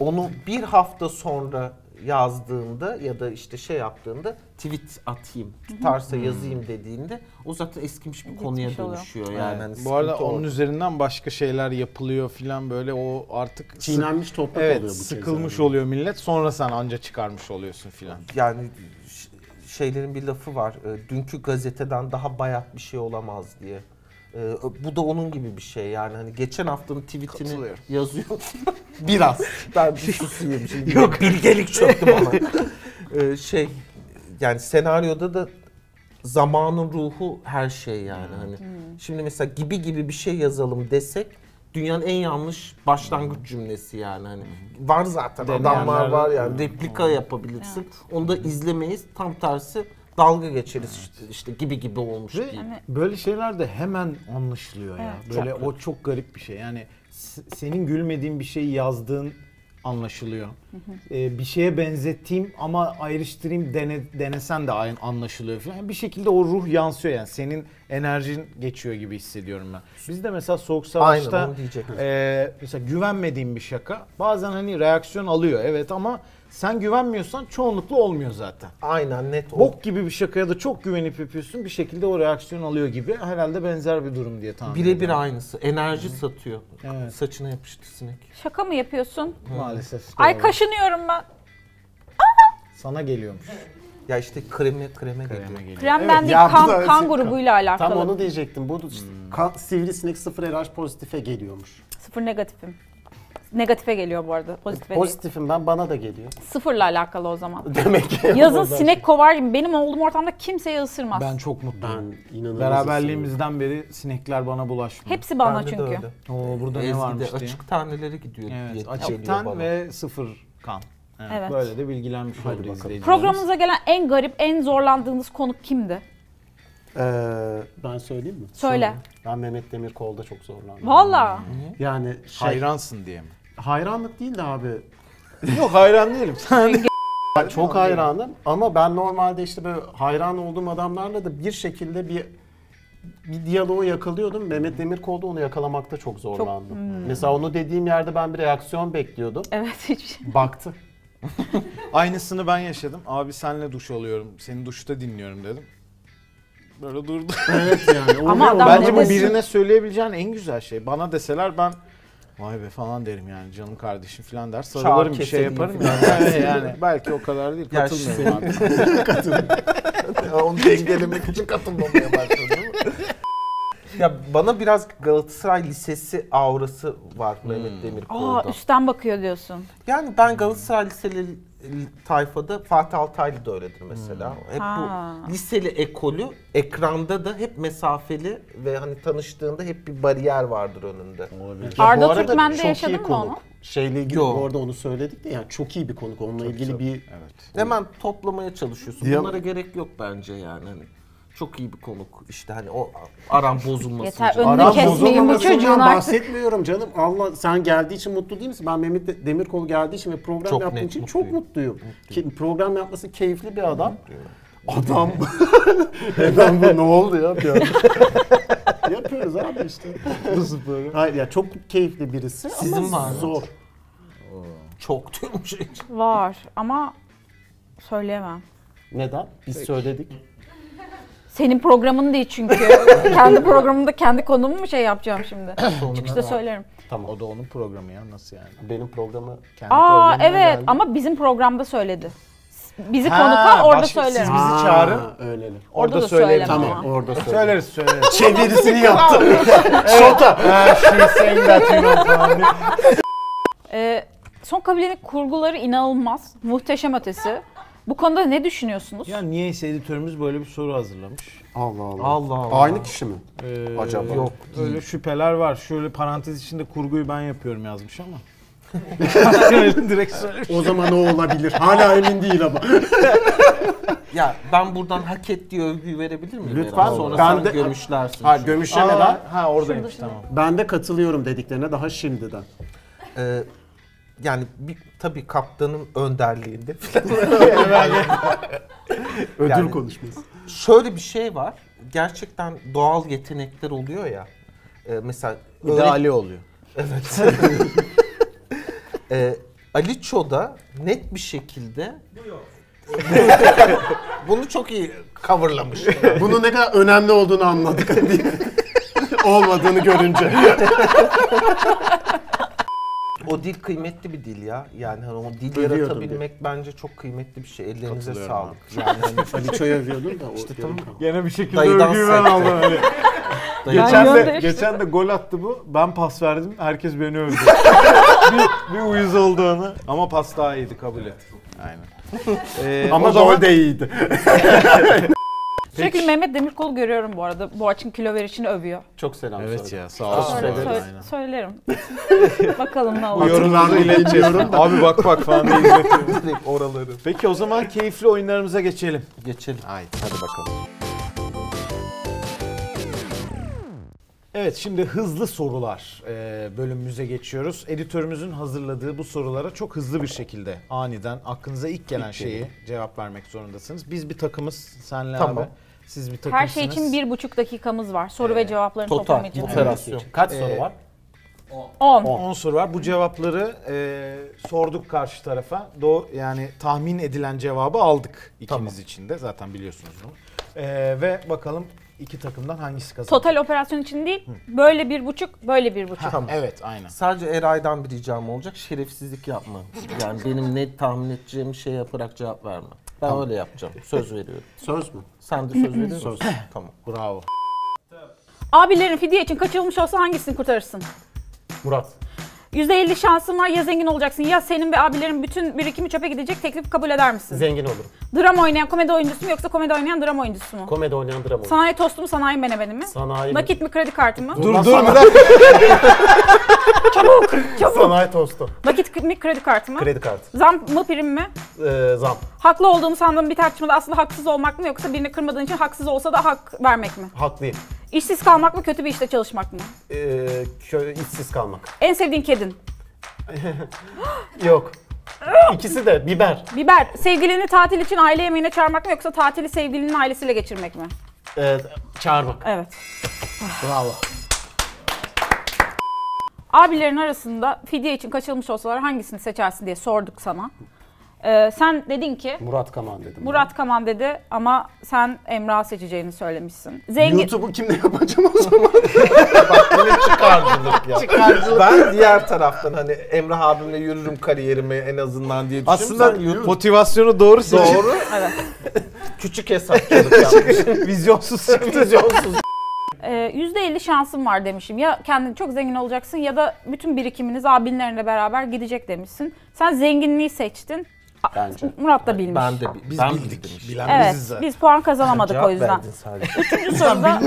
S5: onu bir hafta sonra yazdığında ya da işte şey yaptığında tweet atayım, tutarsa
S2: Hmm.
S5: yazayım dediğinde o zaten eskimiş bir konuya
S1: oluyor.
S5: dönüşüyor. Yani hani
S2: Bu arada
S5: sıkıntı
S2: onun
S5: o.
S2: üzerinden başka şeyler yapılıyor filan böyle o artık sık-
S3: Çiğnenmiş toprak
S2: evet,
S3: oluyor bu kez.
S2: sıkılmış
S3: yani.
S2: oluyor millet. Sonra sen anca çıkarmış oluyorsun filan.
S5: yani ş- şeylerin bir lafı var. e, Dünkü gazeteden daha bayat bir şey olamaz diye. E, Bu da onun gibi bir şey yani hani geçen haftanın tweetini
S2: Katılıyorum.
S5: [laughs] yazıyor. Biraz. Ben bir susayım şimdi. [laughs] Yok. Bilgelik çöktü [laughs] bana. E, şey yani senaryoda da zamanın ruhu her şey yani hani. Şimdi mesela gibi gibi bir şey yazalım desek dünyanın en yanlış başlangıç cümlesi yani hani. Var zaten adamlar var yani replika yapabilirsin. Onu da izlemeyiz. Tam tersi dalga geçeriz işte, işte gibi gibi olmuş diye.
S6: Böyle şeyler de hemen anlaşılıyor ya. Böyle o çok garip bir şey. Yani s- senin gülmediğin bir şeyi yazdığın anlaşılıyor. Ee, bir şeye benzettiğim ama ayrıştırayım dene- denesen de aynı anlaşılıyor falan. Bir şekilde o ruh yansıyor yani. Senin enerjin geçiyor gibi hissediyorum ben. Biz de mesela Soğuk Savaş'ta
S5: Aynen, onu diyecektim.
S6: e, mesela güvenmediğim bir şaka bazen hani reaksiyon alıyor evet ama sen güvenmiyorsan çoğunlukla olmuyor zaten.
S5: Aynen net o.
S6: Bok gibi bir şakaya da çok güvenip yapıyorsun. Bir şekilde o reaksiyon alıyor gibi. Herhalde benzer bir durum diye tahmin ediyorum.
S5: Birebir aynısı. Enerji satıyor.
S6: Evet.
S5: Saçına yapıştı sinek.
S1: Şaka mı yapıyorsun?
S6: Maalesef. işte
S1: Ay
S6: o.
S1: kaşınıyorum ben.
S6: Sana geliyormuş.
S5: Ya işte kreme kreme geliyor.
S6: Kreme geliyor.
S1: Krem bende
S3: ya bu
S1: kan,
S3: da-
S1: kan grubuyla alakalı.
S3: Tam onu diyecektim. Bu işte ka- sivrisinek sıfır RH pozitife geliyormuş.
S1: Sıfır negatifim. Negatife geliyor bu arada. Pozitife değil.
S3: Pozitifim ben bana da geliyor.
S1: Sıfırla alakalı o
S5: [laughs]
S1: zaman.
S3: Demek ki.
S1: Yazın
S3: oradan-
S5: şey.
S1: sinek kovar gibi. Benim olduğum ortamda kimseye ısırmaz.
S6: Ben çok mutluyum.
S3: Ben inanılmaz
S6: Beraberliğimizden beri sinekler bana bulaşmıyor.
S1: Hepsi bana
S5: Bende de
S1: çünkü.
S5: öyle.
S6: Oo, burada ne
S5: Ezgi'de
S6: varmış diye.
S5: açık tanelere gidiyor diye
S6: Evet,
S5: geliyor
S6: açık ten
S5: bana.
S6: ve sıfır kan. Evet,
S1: Evet.
S6: Böyle de bilgilenmiş oldu
S3: bakalım.
S6: izleyicilerimiz.
S1: Programımıza gelen en garip, en zorlandığınız konuk kimdi?
S3: Ee, ben söyleyeyim mi?
S1: Söyle.
S3: Ben Mehmet Demirkol'da çok zorlandım.
S1: Valla.
S5: Hmm.
S3: Yani şey,
S2: Hayransın diye mi?
S3: hayranlık değil de abi.
S2: Yok hayran
S6: [laughs]
S2: değilim.
S3: Ben çok hayranım ama ben normalde işte böyle hayran olduğum adamlarla da bir şekilde bir bir diyaloğu yakalıyordum. Mehmet Demirkol'da onu yakalamakta çok zorlandım. Mesela onu dediğim yerde ben bir reaksiyon bekliyordum.
S1: Evet hiçbir şey.
S3: Baktı.
S2: Aynısını ben yaşadım. Abi senle duş alıyorum. Seni duşta dinliyorum dedim. Böyle durdu.
S3: Evet yani.
S1: Ama
S3: oluyor.
S1: adam
S2: Bence bu
S1: Neredesin?
S2: birine söyleyebileceğin en güzel şey. Bana deseler ben vay be falan derim yani canım kardeşim falan der. Sarılırım bir şey
S5: kesedeyim
S2: yaparım
S5: falan.
S2: yani. [laughs] Evet, yani. Belki o kadar değil.
S5: Ya
S2: Katılmıyorum abi.
S5: [laughs]
S2: [laughs]
S5: Onu dengelemek için katılmamaya
S3: [laughs]
S5: başladım. ya bana biraz Galatasaray Lisesi aurası var
S6: Hmm.
S5: Mehmet
S1: Aa
S5: Demirkol'da.
S1: üstten bakıyor diyorsun.
S5: Yani ben Galatasaray Liseli tayfada Fatih Altaylı da öyledir mesela.
S3: Hmm.
S5: Hep
S1: Ha.
S5: bu liseli ekolü ekranda da hep mesafeli ve hani tanıştığında hep bir bariyer vardır önünde.
S3: Olabilir.
S1: Arda
S3: Bu arada
S1: Türkmen'de
S3: çok iyi
S1: yaşadın mı
S3: konuk.
S1: onu?
S3: şeyle ilgili
S5: Yo.
S3: bu arada onu söyledik de yani çok iyi bir konuk. Onunla ilgili bir
S5: Hemen toplamaya çalışıyorsun.
S7: Ya-
S5: Bunlara gerek yok bence yani. Hani çok iyi bir konuk. İşte hani o aram bozulmasın.
S1: Yeter,
S5: canım.
S1: önünü
S3: Aram
S1: kesmeyin bu
S3: bozulmamasından
S1: çocuğun artık.
S3: bahsetmiyorum canım. Allah sen geldiği için mutlu değil misin? Ben Mehmet De- Demirkol geldiği için ve program
S5: Çok
S3: yaptığım
S5: net
S3: için
S5: mutluyum.
S3: çok mutluyum. Ki- program yapması keyifli bir adam. Adam. [laughs] adam bu ne oldu ya? bir anda? [laughs] Yapıyoruz abi işte. Nasıl böyle? Hayır ya çok keyifli birisi
S5: Sizin var
S3: ama
S5: mı?
S3: zor.
S5: Çok diyorum şey.
S1: Var ama söyleyemem.
S3: Neden? Biz söyledik.
S1: Senin programın değil
S5: [laughs]
S1: çünkü. kendi programımda kendi konumu mu şey yapacağım şimdi? Çıkışta söylerim.
S3: Tamam.
S2: O da onun programı ya nasıl yani?
S3: Benim programı kendi
S1: Aa
S3: programına
S1: evet
S3: geldi.
S1: ama bizim programda söyledi. Bizi
S2: Ha,
S1: konuk al orada
S2: başka- siz
S1: söylerim.
S2: bizi
S3: Aa,
S2: çağırın.
S3: Öyleli.
S1: orada, da
S2: söyleyelim.
S1: söylerim.
S3: Tamam
S1: ama.
S3: orada söyle.
S2: Söyleriz [laughs] söyleriz.
S3: Çevirisini yaptı. Şota.
S2: Ha, she's saying that you know falan diye.
S1: Ee, son kabilenin kurguları inanılmaz. Muhteşem ötesi. Bu konuda ne düşünüyorsunuz?
S2: Ya niyeyse editörümüz böyle bir soru hazırlamış.
S3: Allah Allah.
S5: Allah Allah.
S3: Aynı kişi mi?
S2: Ee,
S3: Acaba?
S2: Yok. Öyle şüpheler var. Şöyle parantez içinde kurguyu ben yapıyorum yazmış [laughs] ama. Direkt söylemiş.
S3: O zaman o olabilir. Hala emin değil [laughs] ama.
S5: Ya ben buradan hak ettiği övgüyü verebilir miyim?
S3: Lütfen.
S5: Eren? Sonra
S3: Ben
S5: sen
S3: de-
S5: gömüşlersin.
S3: Ha gömüşlemeden
S2: Aa, ha oradaymış tamam.
S3: ben de katılıyorum dediklerine daha şimdiden.
S5: Ee, yani bir, tabii kaptanın önderliğinde falan. [laughs]
S3: Ödül
S5: Yani-
S3: [laughs] konuşması.
S5: Şöyle bir şey var. Gerçekten doğal yetenekler oluyor ya. Ee, mesela
S2: Bir de
S5: öğret-
S2: Ali oluyor.
S5: Evet. ee, Ali Ço'da net bir şekilde [laughs] bunu çok iyi coverlamış.
S3: Bunun ne kadar önemli olduğunu anladık. [laughs] Olmadığını görünce.
S5: O dil kıymetli bir dil ya. Yani hani o dil
S3: Övüyordum
S5: yaratabilmek bence çok kıymetli bir şey. Ellerinize sağlık.
S2: [laughs]
S5: Yani hani
S3: Ali Ço'yu övüyordun da.
S5: İşte tamam.
S2: Gene bir şekilde
S5: Dayıdan
S2: övgüyü ben
S5: sekti.
S2: aldım Ali.
S5: Dayı-
S1: Ben
S2: Geçen de,
S1: gönderiştim.
S2: geçen de gol attı bu. Ben pas verdim. Herkes beni övdü. bir, bir uyuz olduğunu. Ama pas daha iyiydi kabul et. Aynen. Ee,
S3: Ama
S2: o zaman-
S3: gol de iyiydi.
S1: Sürekli Mehmet Demirkol'u görüyorum bu arada. Boğaç'ın kilo verişini övüyor.
S5: Çok selam
S2: Evet
S5: söyle.
S2: ya sağ olsun.
S1: Sonra
S2: Aynen.
S1: sö- söylerim. Bakalım ne
S2: Bu
S1: olur.
S2: yorumlarını ileteceğiz. Abi bak bak falan diye izletiyorum.
S5: Direkt oraları.
S2: Peki o zaman keyifli oyunlarımıza geçelim.
S5: Geçelim.
S2: Haydi hadi bakalım. Evet şimdi hızlı sorular e, bölümümüze geçiyoruz. Editörümüzün hazırladığı bu sorulara çok hızlı bir şekilde aniden aklınıza ilk gelen şeyi cevap vermek zorundasınız. Biz bir takımız senle
S5: Tamam.
S2: abi. Siz bir takımsınız.
S1: Her şey için bir buçuk dakikamız var. Soru ve cevapların toplamı
S5: Total.
S1: için.
S5: Operasyon.
S3: Kaç
S1: Ee,
S3: soru var?
S1: 10.
S2: 10 soru var. Bu cevapları e, sorduk karşı tarafa. Do yani tahmin edilen cevabı aldık ikimiz için de zaten biliyorsunuz bunu. E, ve bakalım iki takımdan hangisi kazanacak?
S1: Total operasyon için değil. Böyle bir buçuk, böyle bir buçuk.
S2: Ha, Evet aynen.
S5: Sadece Eray'dan bir ricam olacak. Şerefsizlik yapma. Yani benim ne tahmin edeceğim şey yaparak cevap verme. Ben öyle yapacağım. Söz veriyorum.
S3: Söz mü?
S5: Sen de söz veriyor musun? tamam.
S2: Bravo.
S1: Abilerin fidye için kaçırılmış olsa hangisini kurtarırsın?
S3: Murat.
S1: %50 şansın var ya zengin olacaksın ya senin ve abilerin bütün birikimi çöpe gidecek teklif kabul eder misin?
S3: Zengin olurum.
S1: dram oynayan komedi oyuncusu mu yoksa komedi oynayan dram oyuncusu mu?
S3: Komedi oynayan drama olurum.
S1: sanayi tostu mu sanayi menemeni mi?
S3: Sanayi.
S1: Nakit mi kredi kartı mı?
S2: Dur
S3: Ulan
S2: dur
S3: sana-
S2: bırak.
S6: [laughs]
S3: Sanayi tostu.
S1: Nakit k- mi kredi kartı mı?
S3: Kredi kartı.
S1: Zam mı prim mi?
S3: Ee, zam.
S1: Haklı olduğumu sandığım bir tartışmada aslında haksız olmak mı yoksa birini kırmadığın için haksız olsa da hak vermek mi?
S3: Haklıyım.
S1: İşsiz kalmak mı kötü bir işte çalışmak mı?
S3: Ee, şöyle işsiz kalmak.
S1: En sevdiğin kedin?
S3: Yok. İkisi de biber.
S1: Biber. Sevgilini tatil için aile yemeğine çağırmak mı yoksa tatili sevgilinin ailesiyle geçirmek mi?
S3: Ee, çağırmak.
S1: Evet.
S3: Bravo.
S1: Abilerin arasında fidye için kaçırılmış olsalar hangisini seçersin diye sorduk sana. Ee, sen dedin ki
S3: Murat Kaman dedim.
S1: Murat Kaman dedi ama sen Emrah seçeceğini söylemişsin. Zengin
S3: YouTube'u kimle yapacağım o zaman?
S5: Çıkarcılık ya. Ben diğer taraftan hani Emrah abimle yürürüm kariyerimi en azından diye düşünüyorum.
S2: Aslında
S5: Sen yürü-
S2: motivasyonu doğru seçip
S5: doğru.
S1: Evet.
S5: Küçük hesapçılık yapmış.
S2: [laughs] vizyonsuz şey. çıktı.
S5: Vizyonsuz.
S1: Ee, %50 şansım var demişim. Ya kendin çok zengin olacaksın ya da bütün birikiminiz abinlerinle beraber gidecek demişsin. Sen zenginliği seçtin. A-
S3: Bence.
S1: Murat da bilmiş.
S5: Ben de bi-
S2: Biz
S5: ben
S2: bildik.
S5: bildim.
S2: Bilen
S1: Evet,
S2: biziz zaten.
S1: biz puan kazanamadık
S5: Cevap
S1: o yüzden.
S5: verdin sadece.
S1: Üçüncü soruda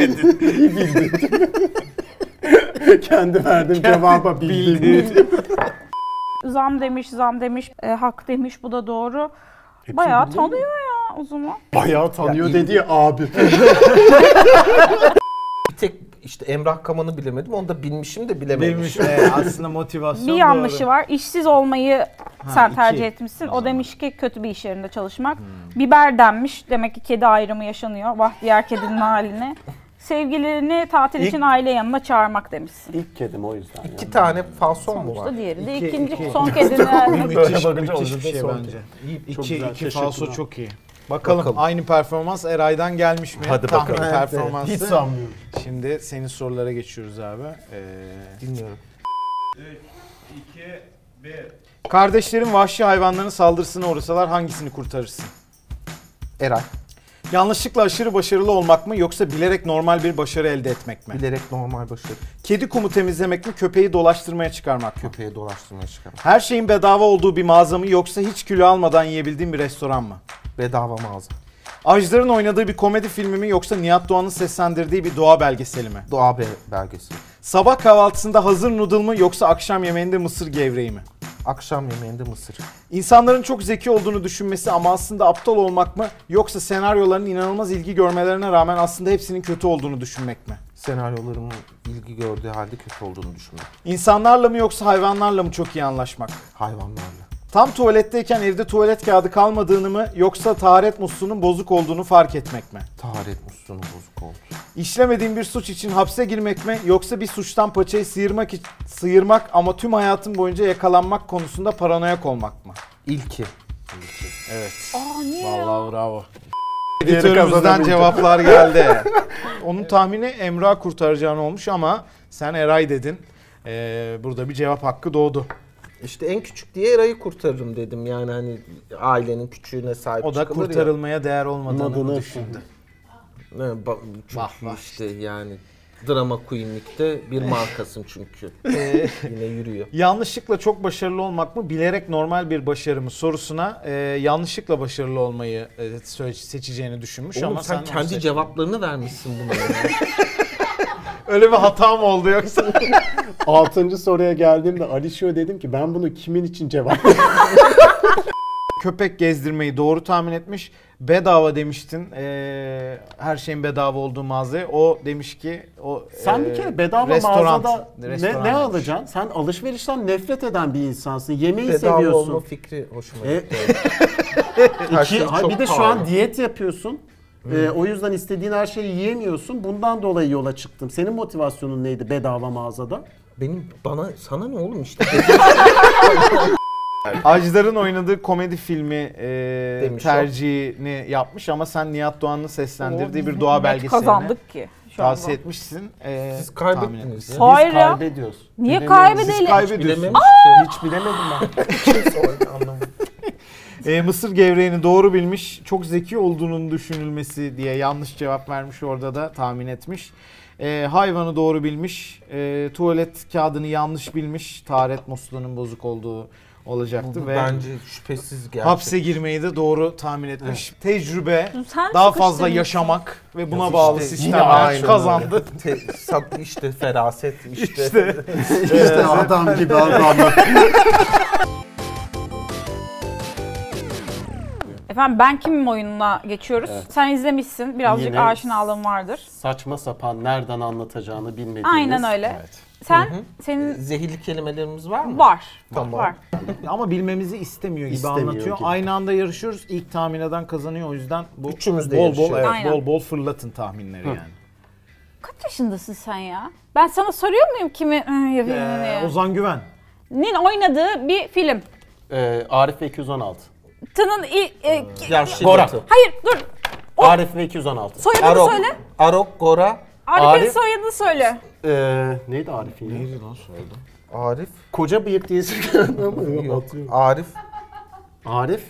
S3: Kendi verdiğim cevaba bildim.
S1: zam demiş, zam demiş, e, hak demiş bu da doğru. Bayağı
S3: biliyor mu?
S1: tanıyor ya o zaman.
S3: Bayağı tanıyor dedi ya abi.
S5: Bir tek işte Emrah Kaman'ı bilemedim. Onu da bilmişim de bilememişim.
S6: Demiş e, aslında motivasyon
S1: bir
S6: doğru.
S1: yanlışı var. İşsiz olmayı sen
S6: iki.
S1: tercih etmişsin. O, demiş ki kötü bir iş yerinde çalışmak. Biber denmiş. Demek ki kedi ayrımı yaşanıyor. Vah diğer kedinin haline. Sevgilini tatil için aile yanına çağırmak demişsin.
S3: İlk kedim o yüzden.
S5: İki tane falson mu var?
S1: Sonuçta diğeri de
S6: İki,
S1: ikinci
S6: iki.
S1: son kedini.
S6: Müthiş,
S3: bakınca
S6: müthiş
S3: olacak
S6: bir
S3: da
S6: şey
S3: son
S6: bence.
S3: Çok
S6: İki,
S3: güzel,
S6: iki
S3: teşekkürler.
S6: falso çok iyi. Bakalım,
S5: Bakalım.
S6: aynı performans Eray'dan gelmiş mi?
S5: Hadi
S6: Tahmin
S5: bakalım.
S6: performansı.
S3: Hiç sanmıyorum.
S6: Şimdi senin sorulara geçiyoruz abi. Ee,
S5: Dinliyorum.
S2: Kardeşlerin vahşi hayvanların saldırısına uğrasalar hangisini kurtarırsın?
S5: Eray.
S2: Yanlışlıkla aşırı başarılı olmak mı yoksa bilerek normal bir başarı elde etmek mi?
S5: Bilerek normal başarı.
S2: Kedi kumu temizlemek mi köpeği dolaştırmaya çıkarmak mı?
S5: Köpeğe dolaştırmaya çıkarım.
S2: Her şeyin bedava olduğu bir mağaza mı yoksa hiç kilo almadan yiyebildiğin bir restoran mı?
S5: Bedava mağaza.
S2: Ajdar'ın oynadığı bir komedi filmi mi yoksa Nihat Doğan'ın seslendirdiği bir doğa belgeseli mi?
S5: Doğa be- belgesi.
S2: Sabah kahvaltısında hazır noodle mı yoksa akşam yemeğinde mısır gevreği mi?
S5: Akşam yemeğinde mısır.
S2: İnsanların çok zeki olduğunu düşünmesi ama aslında aptal olmak mı yoksa senaryoların inanılmaz ilgi görmelerine rağmen aslında hepsinin kötü olduğunu düşünmek mi?
S5: Senaryolarımın ilgi gördüğü halde kötü olduğunu düşünüyorum.
S2: İnsanlarla mı yoksa hayvanlarla mı çok iyi anlaşmak?
S5: Hayvanlarla.
S2: Tam tuvaletteyken evde tuvalet kağıdı kalmadığını mı yoksa taharet musluğunun bozuk olduğunu fark etmek mi?
S5: Taharet musluğunu bozuk oldu.
S2: İşlemediğin bir suç için hapse girmek mi yoksa bir suçtan paçayı sıyırmak, iç- sıyırmak ama tüm hayatın boyunca yakalanmak konusunda paranoyak olmak mı?
S5: İlki.
S1: Aa niye ya?
S2: Vallahi bravo.
S3: kazanamayacak.
S2: Editörümüzden cevaplar geldi. [laughs] Onun tahmini Emrah kurtaracağını olmuş ama sen Eray dedin. Ee, burada bir cevap hakkı doğdu.
S5: İşte en küçük diye Eray'ı kurtarırım dedim. Yani hani ailenin küçüğüne sahip
S2: O da
S5: çıkılır ya.
S2: kurtarılmaya değer olmadığını
S3: Anladın
S2: düşündü.
S5: Ne, ba- çünkü işte yani drama queenlikte bir markasım çünkü. Yine yürüyor.
S2: Yanlışlıkla çok başarılı olmak mı bilerek normal bir başarı mı sorusuna e, yanlışlıkla başarılı olmayı e, sö- seçeceğini düşünmüş
S5: Oğlum
S2: ama
S5: sen,
S2: sen
S5: kendi cevaplarını vermişsin buna. ya.
S2: [laughs] öyle bir hata mı oldu yoksa?
S3: Altıncı soruya geldiğimde Alişo'ya dedim ki ben bunu kimin için cevap
S2: Köpek gezdirmeyi doğru tahmin etmiş. Bedava demiştin. e, her şeyin bedava olduğu mağazaya. O demiş ki o
S3: Sen
S2: e,
S3: bir kere
S5: Ee,
S3: bedava
S2: restoran-
S3: mağazada ne,
S2: restoran
S3: ne
S2: demiş.
S3: alacaksın? Sen alışverişten nefret eden bir insansın. Yemeği
S5: Bedava olma
S3: seviyorsun.
S5: fikri hoşuma
S3: E,
S5: gitti.
S3: İki,
S5: Her şey
S3: ha,
S5: çok
S3: bir de şu
S5: pahalı.
S3: an diyet yapıyorsun. Ee, o yüzden istediğin her şeyi yiyemiyorsun. Bundan dolayı yola çıktım. Senin motivasyonun neydi bedava mağazada?
S5: Benim bana sana ne oğlum işte
S2: Ajdar'ın oynadığı komedi filmi e,
S5: Demiş o.
S2: tercihini yapmış ama sen Nihat Doğan'ın seslendirdiği bir doğa
S1: Net
S2: belgeselini
S1: kazandık ki şu anda.
S2: tavsiye etmişsin. E,
S5: siz
S2: tahmin
S5: kaybettiniz
S2: etmişsin.
S5: ya.
S1: Hayır ya.
S3: Kaybediyoruz.
S1: Niye
S2: Siz
S1: kaybedelim?
S2: kaybediyorsunuz.
S5: Bilememiş ki.
S3: Hiç bilemedim
S1: [laughs]
S3: ben.
S2: E, mısır gevreğini doğru bilmiş, çok zeki olduğunun düşünülmesi diye yanlış cevap vermiş orada da tahmin etmiş. E, hayvanı doğru bilmiş, e, tuvalet kağıdını yanlış bilmiş, taharet musluğunun bozuk olduğu olacaktı
S5: Bu
S2: ve
S5: bence şüphesiz gerçek.
S2: hapse girmeyi de doğru tahmin etmiş. Tecrübe,
S1: Sen
S2: daha
S1: sıkıştırmışsın.
S2: fazla yaşamak ve buna
S5: İşte
S2: bağlı
S5: yine
S2: sistemler
S5: aynen
S2: kazandı.
S5: [laughs] öyle. Te- sat- işte feraset işte.
S3: işte adam gibi adam.
S1: Efendim ben kimim oyununa geçiyoruz. Sen izlemişsin. Birazcık
S3: Yine-
S1: aşinalığın vardır.
S3: Saçma sapan nereden anlatacağını bilmediğiniz.
S1: Aynen öyle. Sen senin
S5: Zehirli kelimelerimiz var mı?
S1: var.
S5: Tamam.
S1: Var.
S6: ama bilmemizi istemiyor gibi
S3: İstemiyor
S6: anlatıyor.
S3: gibi.
S6: Aynı anda yarışıyoruz. İlk tahmin eden kazanıyor. O yüzden bu
S5: Üçümüz de
S6: bol bol
S5: yarışıyoruz.
S6: evet,
S1: Aynen.
S6: bol bol fırlatın tahminleri yani.
S1: Kaç yaşındasın sen ya? Ben sana soruyor muyum kimi Hı, yapayım bunu
S6: Ee,
S1: ya?
S6: Ozan Güven.
S1: Nin oynadığı bir film.
S3: Ee, Arif ve 216.
S1: Tının ilk... e, ki-
S5: Yaş şiddeti.
S3: Gora.
S1: hayır dur. O-
S3: Arif ve 216.
S1: Soyadını
S5: Arok.
S1: söyle.
S5: Arok Gora.
S1: Arif'in
S3: Arif.
S1: soyadını söyle.
S3: Ee, neydi Arif'in ya?
S5: Arif.
S3: Koca bıyık diyesi geldi ama
S5: Yok.
S3: hatırlıyorum.
S5: Arif.
S3: Arif.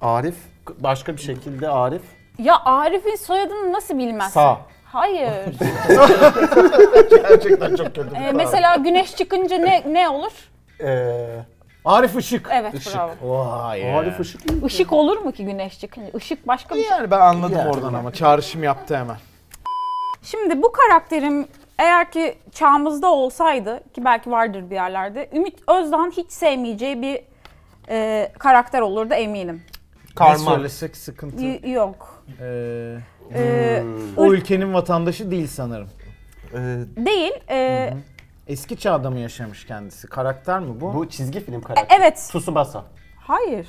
S3: Arif. Başka bir şekilde Arif.
S1: Ya Arif'in soyadını nasıl bilmezsin?
S3: Sağ.
S1: Hayır.
S5: Gerçekten çok kötü.
S1: Ee, mesela güneş çıkınca ne ne olur?
S3: Ee,
S6: [laughs] Arif Işık.
S1: Evet bravo.
S6: Vay ya.
S3: Arif Işık mı?
S1: Işık olur mu ki güneş çıkınca? Işık başka bir şey.
S2: Yani ben anladım oradan ama çağrışım yaptı hemen.
S1: Şimdi bu karakterim Eğer ki çağımızda olsaydı ki belki vardır bir yerlerde Ümit Özdağ'ın hiç sevmeyeceği bir e, karakter olurdu eminim.
S6: Ne
S5: Karma.
S6: söylesek sıkıntı.
S1: Y- yok.
S6: Ee,
S1: E,
S6: o ülkenin vatandaşı değil sanırım.
S5: Ee,
S1: değil. e,
S6: Eski çağda mı yaşamış kendisi? Karakter mi bu?
S3: Bu çizgi film karakteri.
S1: evet.
S3: Tsubasa.
S1: [laughs] Hayır.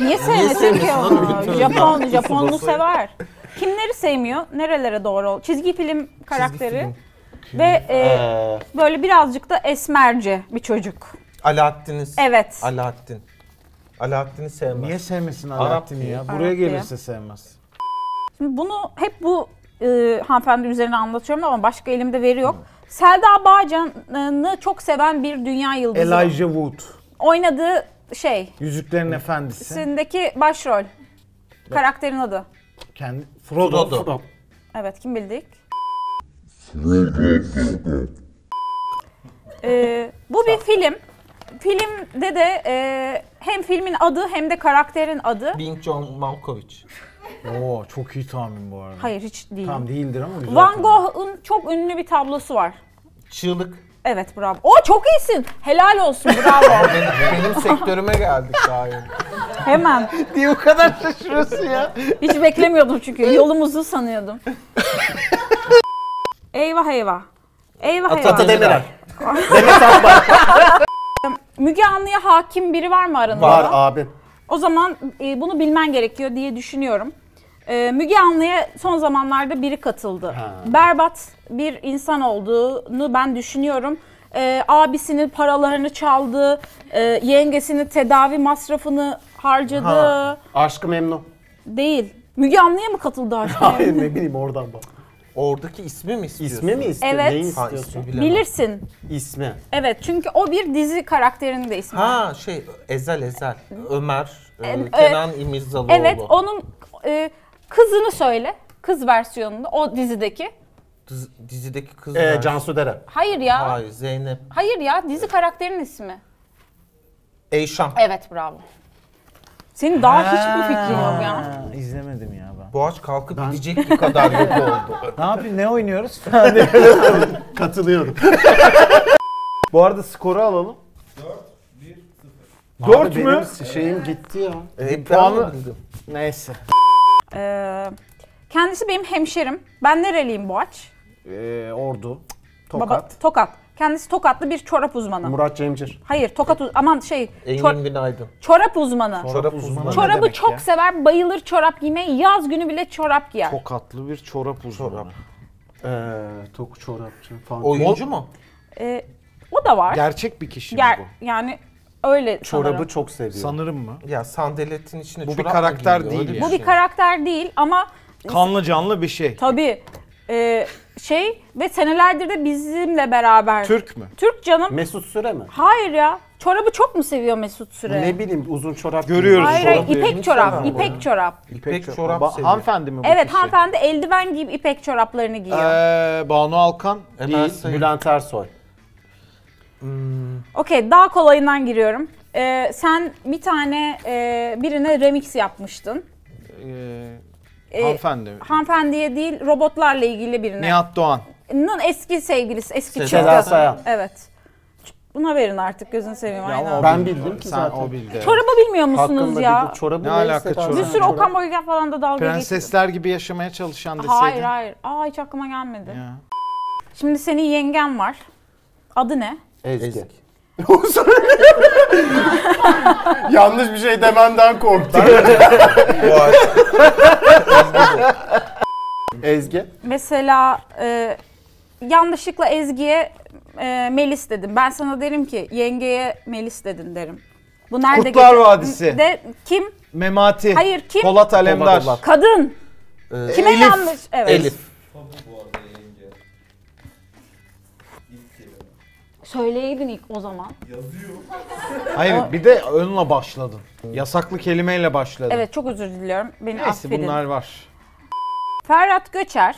S1: Niye sevmesin ki onu? Japon, Japonlu sever. Kimleri sevmiyor? Nerelere doğru? ol- Çizgi film karakteri. Ve e,
S3: Ee,
S1: böyle birazcık da esmerce bir çocuk.
S5: Alaaddin'i s-
S1: Evet.
S5: Alaaddin. Alaaddin'i sevmez.
S6: Niye sevmesin
S5: Arap
S6: Alaaddin'i ya?
S1: diye.
S6: Buraya
S1: Arap diye.
S6: gelirse sevmez.
S1: Şimdi bunu hep bu e, hanımefendi üzerine anlatıyorum ama başka elimde veri yok. Selda Bağcan'ı çok seven bir dünya yıldızı.
S6: Elijah Wood.
S1: Oynadığı şey,
S6: Yüzüklerin Efendisi.
S1: sindeki başrol. Karakterin adı.
S6: Kendi
S5: Frodo.
S3: Ee,
S1: Evet, kim bildik? Ee, bu bir film. Filmde de e, hem filmin adı hem de karakterin adı.
S5: Bing John Malkovich.
S6: Oo çok iyi tahmin bu arada.
S1: Hayır hiç değil.
S6: Tam değildir ama güzel.
S1: Van Gogh'un çok ünlü bir tablosu var.
S5: Çığlık. [laughs]
S1: Evet bravo. O çok iyisin. Helal olsun bravo.
S5: Benim, benim sektörüme geldik daha yeni.
S1: Hemen.
S4: Diye o kadar şaşırıyorsun ya.
S1: Hiç beklemiyordum çünkü. Yolumuzu sanıyordum. eyvah eyvah. Eyvah eyvah.
S5: Demirer.
S1: Müge Anlı'ya hakim biri var mı aranızda?
S3: var abi.
S1: O zaman e, bunu bilmen gerekiyor diye düşünüyorum. E, Müge Anlı'ya son zamanlarda biri katıldı. Berbat bir insan olduğunu ben düşünüyorum. E, abisinin paralarını çaldı, e, yengesinin tedavi masrafını harcadı.
S3: Aşkı [laughs] memnun.
S1: Değil. Müge Anlı'ya mı katıldı aşkım?
S3: Hayır ne bileyim oradan bak.
S5: Oradaki ismi mi istiyorsun?
S3: İsmi mi istiyorsun?
S1: Evet.
S3: Neyi
S5: Ha,
S3: istiyorsun?
S5: ismi bilemem.
S1: Bilirsin.
S3: İsmi.
S1: Evet çünkü o bir dizi karakterinin de ismi.
S5: Ha şey Ezel Ezel. Ömer. e,
S1: E,
S5: Kenan İmirzalıoğlu.
S1: evet onun e, kızını söyle. Kız versiyonunda o dizideki.
S5: Diz- dizideki kız.
S3: Ee,
S5: var.
S3: Cansu Dere.
S1: Hayır ya.
S5: Hayır Zeynep.
S1: Hayır ya dizi karakterinin ismi.
S5: Eyşan.
S1: Evet bravo. Senin daha hiç bu fikrin yok ya.
S6: Ha, izlemedim ya ben.
S5: Boğaç kalkıp gidecek bir
S2: [laughs]
S5: kadar yok oldu.
S6: Ne yapayım ne [laughs] oynuyoruz?
S3: [laughs] Katılıyorum.
S6: bu arada skoru alalım.
S2: 4 mü?
S3: Benim şeyim gitti ya.
S5: E,
S2: puanı-
S5: ben bildim.
S2: Neyse.
S1: Ee, kendisi benim hemşerim. Ben nereliyim Boğaç?
S6: Ee, ordu.
S3: Tokat.
S1: Baba, tokat. Kendisi tokatlı bir çorap uzmanı.
S3: Murat Cemcir.
S1: Hayır tokat uz- aman şey çor-
S5: Engin Günaydın.
S1: çorap uzmanı.
S5: Çorap uzmanı.
S6: ne
S1: Çorabı
S6: demek
S1: çok
S6: ya?
S1: sever, bayılır çorap giymeye. Yaz günü bile çorap giyer.
S2: Tokatlı bir çorap uzmanı.
S5: Çorap.
S3: Ee, Tok Çorapçı falan.
S5: Oyuncu mu?
S1: Ee, o da var.
S2: Gerçek bir kişi mi
S1: Ger-
S2: bu?
S1: yani öyle
S3: Çorabı
S1: sanırım.
S3: çok seviyor.
S2: Sanırım mı?
S5: Ya sandaletin içine
S2: Bu bir
S5: çorap mı
S2: karakter
S5: giyiliyor?
S2: değil
S5: Öyle şey.
S2: yani.
S1: Bu bir karakter değil ama
S2: Kanlı canlı bir şey.
S1: tabii e, şey ve senelerdir de bizimle beraber.
S2: Türk mü?
S1: Türk canım.
S3: Mesut Süre mi?
S1: Hayır ya. Çorabı çok mu seviyor Mesut Süre?
S3: Ne bileyim uzun çorap
S2: Görüyoruz.
S1: Hayır hayır
S2: Çorap
S1: ipek çorap, ipek çorap.
S5: İpek
S2: Peki,
S5: çorap
S2: ba-
S5: seviyor.
S2: Hanımefendi mi bu
S1: Evet
S2: kişi?
S1: hanımefendi eldiven giyip ipek çoraplarını giyiyor.
S2: şey. Ee, Banu Alkan.
S5: E, ben
S3: Değil,
S5: sayayım.
S3: Bülent Ersoy.
S1: Okey daha kolayından giriyorum. Ee, sen bir tane e, birine remix yapmıştın.
S2: Ee,
S1: Ee,
S2: hanımefendi mi?
S1: Hanımefendiye değil robotlarla ilgili birine.
S2: Nihat Doğan.
S1: Nın eski sevgilisi, eski
S5: Seda
S1: çıktı.
S3: Sayan.
S1: Evet. Buna verin artık gözünü seveyim aynen.
S2: Ama o
S3: Ben
S2: bildi.
S3: bildim ki
S2: Sen
S3: zaten.
S2: o bildi.
S1: Çorabı bilmiyor musunuz
S3: Hakkında
S1: ya?
S3: bir bu çorabı
S2: Ne
S3: ne
S2: alaka
S3: alaka
S2: çorap?
S1: Bir sürü
S3: o
S1: Okan Bayülgen falan da dalga geçiyor.
S2: Prensesler gibi yaşamaya çalışan deseydin.
S1: Hayır hayır. Aa hiç aklıma gelmedi.
S2: Ya.
S1: Şimdi senin yengen var. Adı ne?
S3: [laughs] Ezgi. Yanlış bir şey demenden korktum. Ezgi.
S1: Mesela e, yanlışlıkla Ezgi'ye e, Melis dedim. Ben sana derim ki yengeye Melis dedin derim. Bu nerede
S2: Kurtlar
S1: geçer?
S2: Vadisi.
S1: De, kim?
S2: Memati.
S1: Hayır kim?
S2: Polat Alemdar.
S5: Polat
S1: Kadın.
S2: Ee,
S1: Kime yanlış? Evet.
S5: Elif.
S1: Söyleydin ilk o zaman.
S2: Hayır bir de önle başladın. Yasaklı kelimeyle başladın.
S1: Evet çok özür diliyorum. Beni
S2: Neyse
S1: affedin.
S2: bunlar var.
S1: Ferhat Göçer,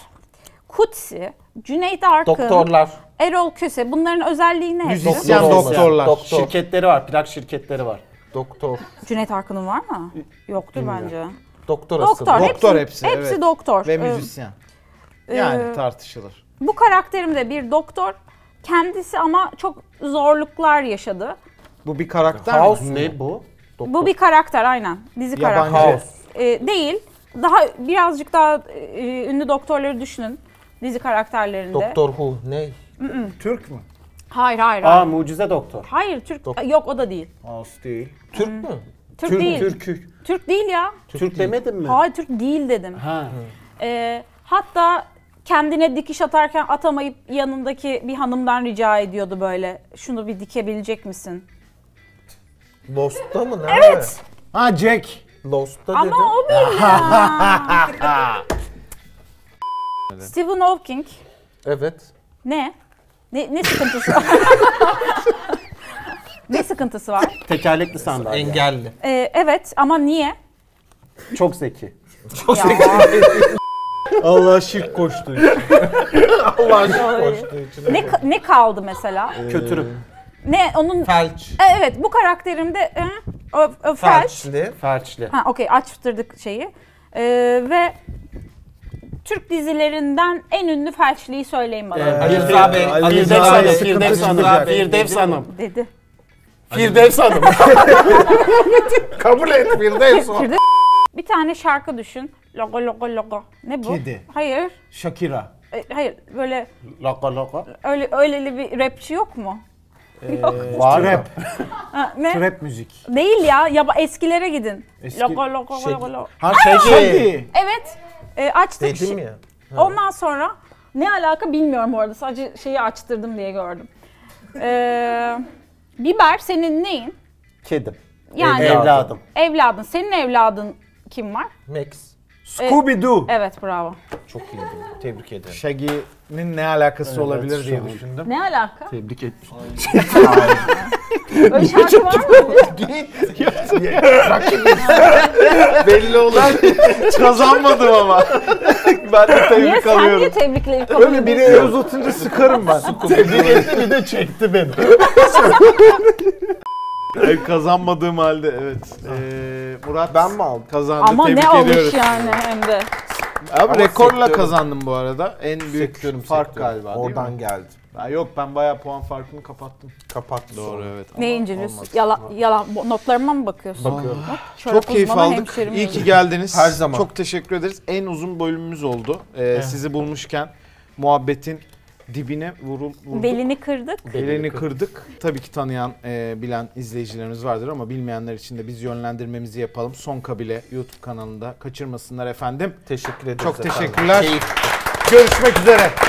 S1: Kutsi, Cüneyt Arkın,
S5: Doktorlar.
S1: Erol Köse bunların özelliği ne?
S2: Müzisyen
S5: Doktor olmayan.
S2: doktorlar.
S5: Doktor.
S3: Şirketleri var, plak şirketleri var.
S5: Doktor.
S1: Cüneyt Arkın'ın var mı? Yoktur bence.
S5: Doktor asıl.
S1: Doktor,
S2: Doktor
S1: hepsi,
S2: hepsi,
S1: hepsi
S2: evet.
S1: doktor.
S2: Ve
S1: Ee,
S2: müzisyen. Yani
S1: Ee,
S2: tartışılır.
S1: Bu karakterim de bir doktor. Kendisi ama çok zorluklar yaşadı.
S5: Bu bir karakter
S3: House
S5: mi?
S3: ne bu?
S1: Bu bir karakter aynen. Dizi
S2: Yabancı.
S1: karakteri. Ee, değil. Daha birazcık daha e, ünlü doktorları düşünün dizi karakterlerinde.
S5: Doktor Who ne?
S2: Türk mü?
S1: Hayır hayır.
S3: Aa
S1: hayır.
S3: mucize doktor.
S1: Hayır Türk. e, Yok o da değil.
S2: House değil.
S5: Türk mü?
S1: Türk, değil. Türk.
S3: Türk,
S1: değil ya.
S3: Türk demedin mi?
S1: Hayır Türk değil dedim.
S3: Ha.
S1: Ee, hatta kendine dikiş atarken atamayıp yanındaki bir hanımdan rica ediyordu böyle. Şunu bir dikebilecek misin?
S5: Lost'ta mı? Nerede? Evet.
S6: Ha Jack.
S5: Lost'ta
S1: Ama
S5: dedim.
S1: o değil ya. Stephen Hawking
S5: Evet.
S1: ne? Ne, ne sıkıntısı var? ne sıkıntısı var?
S3: Tekerlekli sandalye.
S5: Engelli.
S1: Ee, evet ama niye?
S3: Çok zeki.
S5: Çok
S1: Ya.
S6: Allah şirk
S2: [laughs]
S6: koştu.
S5: koştuğu için.
S1: Ne, ka- ne kaldı mesela?
S3: Kötürüm.
S1: Ne onun
S5: Felç.
S1: E, Evet bu karakterimde e, ö, ö, felç.
S5: Felçli.
S3: Ferçli.
S1: Ha okey açtırdık şeyi. E, ve Türk dizilerinden en ünlü felçliyi söyleyin bana.
S5: Ali Rıza Bey. Ali
S3: Firdevs
S5: Rıza
S3: Hanım.
S5: Bey.
S3: Ee,
S5: Rıza
S3: Firdevs Hanım.
S5: Bey
S3: Firdevs
S5: dedi.
S3: Hanım.
S1: dedi.
S3: Firdevs Hanım.
S4: Kabul et bir de son.
S1: Firde- Bir tane şarkı düşün. Logo logo logo. Ne bu?
S6: Kedi.
S1: Hayır.
S6: Shakira.
S1: E, hayır böyle
S3: Laka laka.
S1: öyle öyleli bir rapçi yok mu?
S5: Ee,
S3: Var mı?
S6: Rap.
S1: Ha, ne?
S6: Rap müzik.
S1: Değil ya. ya ba- eskilere gidin.
S6: Eski-
S1: Logo logo
S5: Şey-
S1: logo logo.
S6: Ha
S3: şey.
S6: Shaggy.
S1: Evet. E, açtık.
S5: Dedim
S1: şi-
S5: ya.
S1: Ondan sonra ne alaka bilmiyorum orada. Sadece şeyi açtırdım diye gördüm. Ee, biber senin neyin?
S3: Kedim.
S1: Yani
S3: Evladım.
S1: evladın. Senin evladın kim var?
S5: Max.
S6: Scooby-Doo.
S1: Evet bravo.
S5: Çok iyi değil. Tebrik ederim.
S2: Shaggy'nin ne alakası olabilir
S3: şu
S2: diye
S3: an.
S2: düşündüm.
S1: Ne alaka?
S3: Tebrik etmiş.
S1: [laughs] Öyle şarkı var mı?
S2: Belli olur. [laughs] Kazanmadım ama. [laughs] ben de
S1: Niye
S2: tebrik
S1: sen niye
S2: alıyorum.
S1: tebrikle kabul
S2: Böyle biri
S1: ediyorsun?
S2: el uzatınca sıkarım ben.
S3: bir de
S2: [laughs]
S3: çekti beni.
S2: E, Kazanmadığım halde evet. Ee, Murat
S5: Ben mi aldım?
S2: kazandı.
S1: Ama
S2: Tebrik
S1: ne almış
S2: ediyoruz.
S1: yani hem de.
S2: Abi
S5: Ama
S2: rekorla
S5: sektörüm-
S2: kazandım bu arada. En büyük
S5: Sektörüm,
S2: fark
S5: sektörüm.
S2: galiba değil
S5: Oradan
S2: mi?
S5: geldi.
S2: Ha, yok ben bayağı puan farkını kapattım.
S5: Kapattı sonra.
S2: evet.
S1: Ne inceliyorsun? Yalan, yalan. Bu Notlarıma mı bakıyorsun? Bakıyorum.
S2: Çok keyif aldık. İyi ki geldiniz.
S5: Her zaman.
S2: Çok teşekkür ederiz. En uzun bölümümüz oldu. Ee, Sizi bulmuşken muhabbetin dibine vurul, vurduk.
S1: Belini kırdık.
S2: Elini kırdık. Tabii ki tanıyan, e, bilen izleyicilerimiz vardır ama bilmeyenler için de biz yönlendirmemizi yapalım. Son Kabile YouTube kanalında kaçırmasınlar efendim.
S5: Teşekkür ederiz
S2: Çok
S5: efendim.
S2: teşekkürler.
S5: Keyif.
S2: Görüşmek üzere.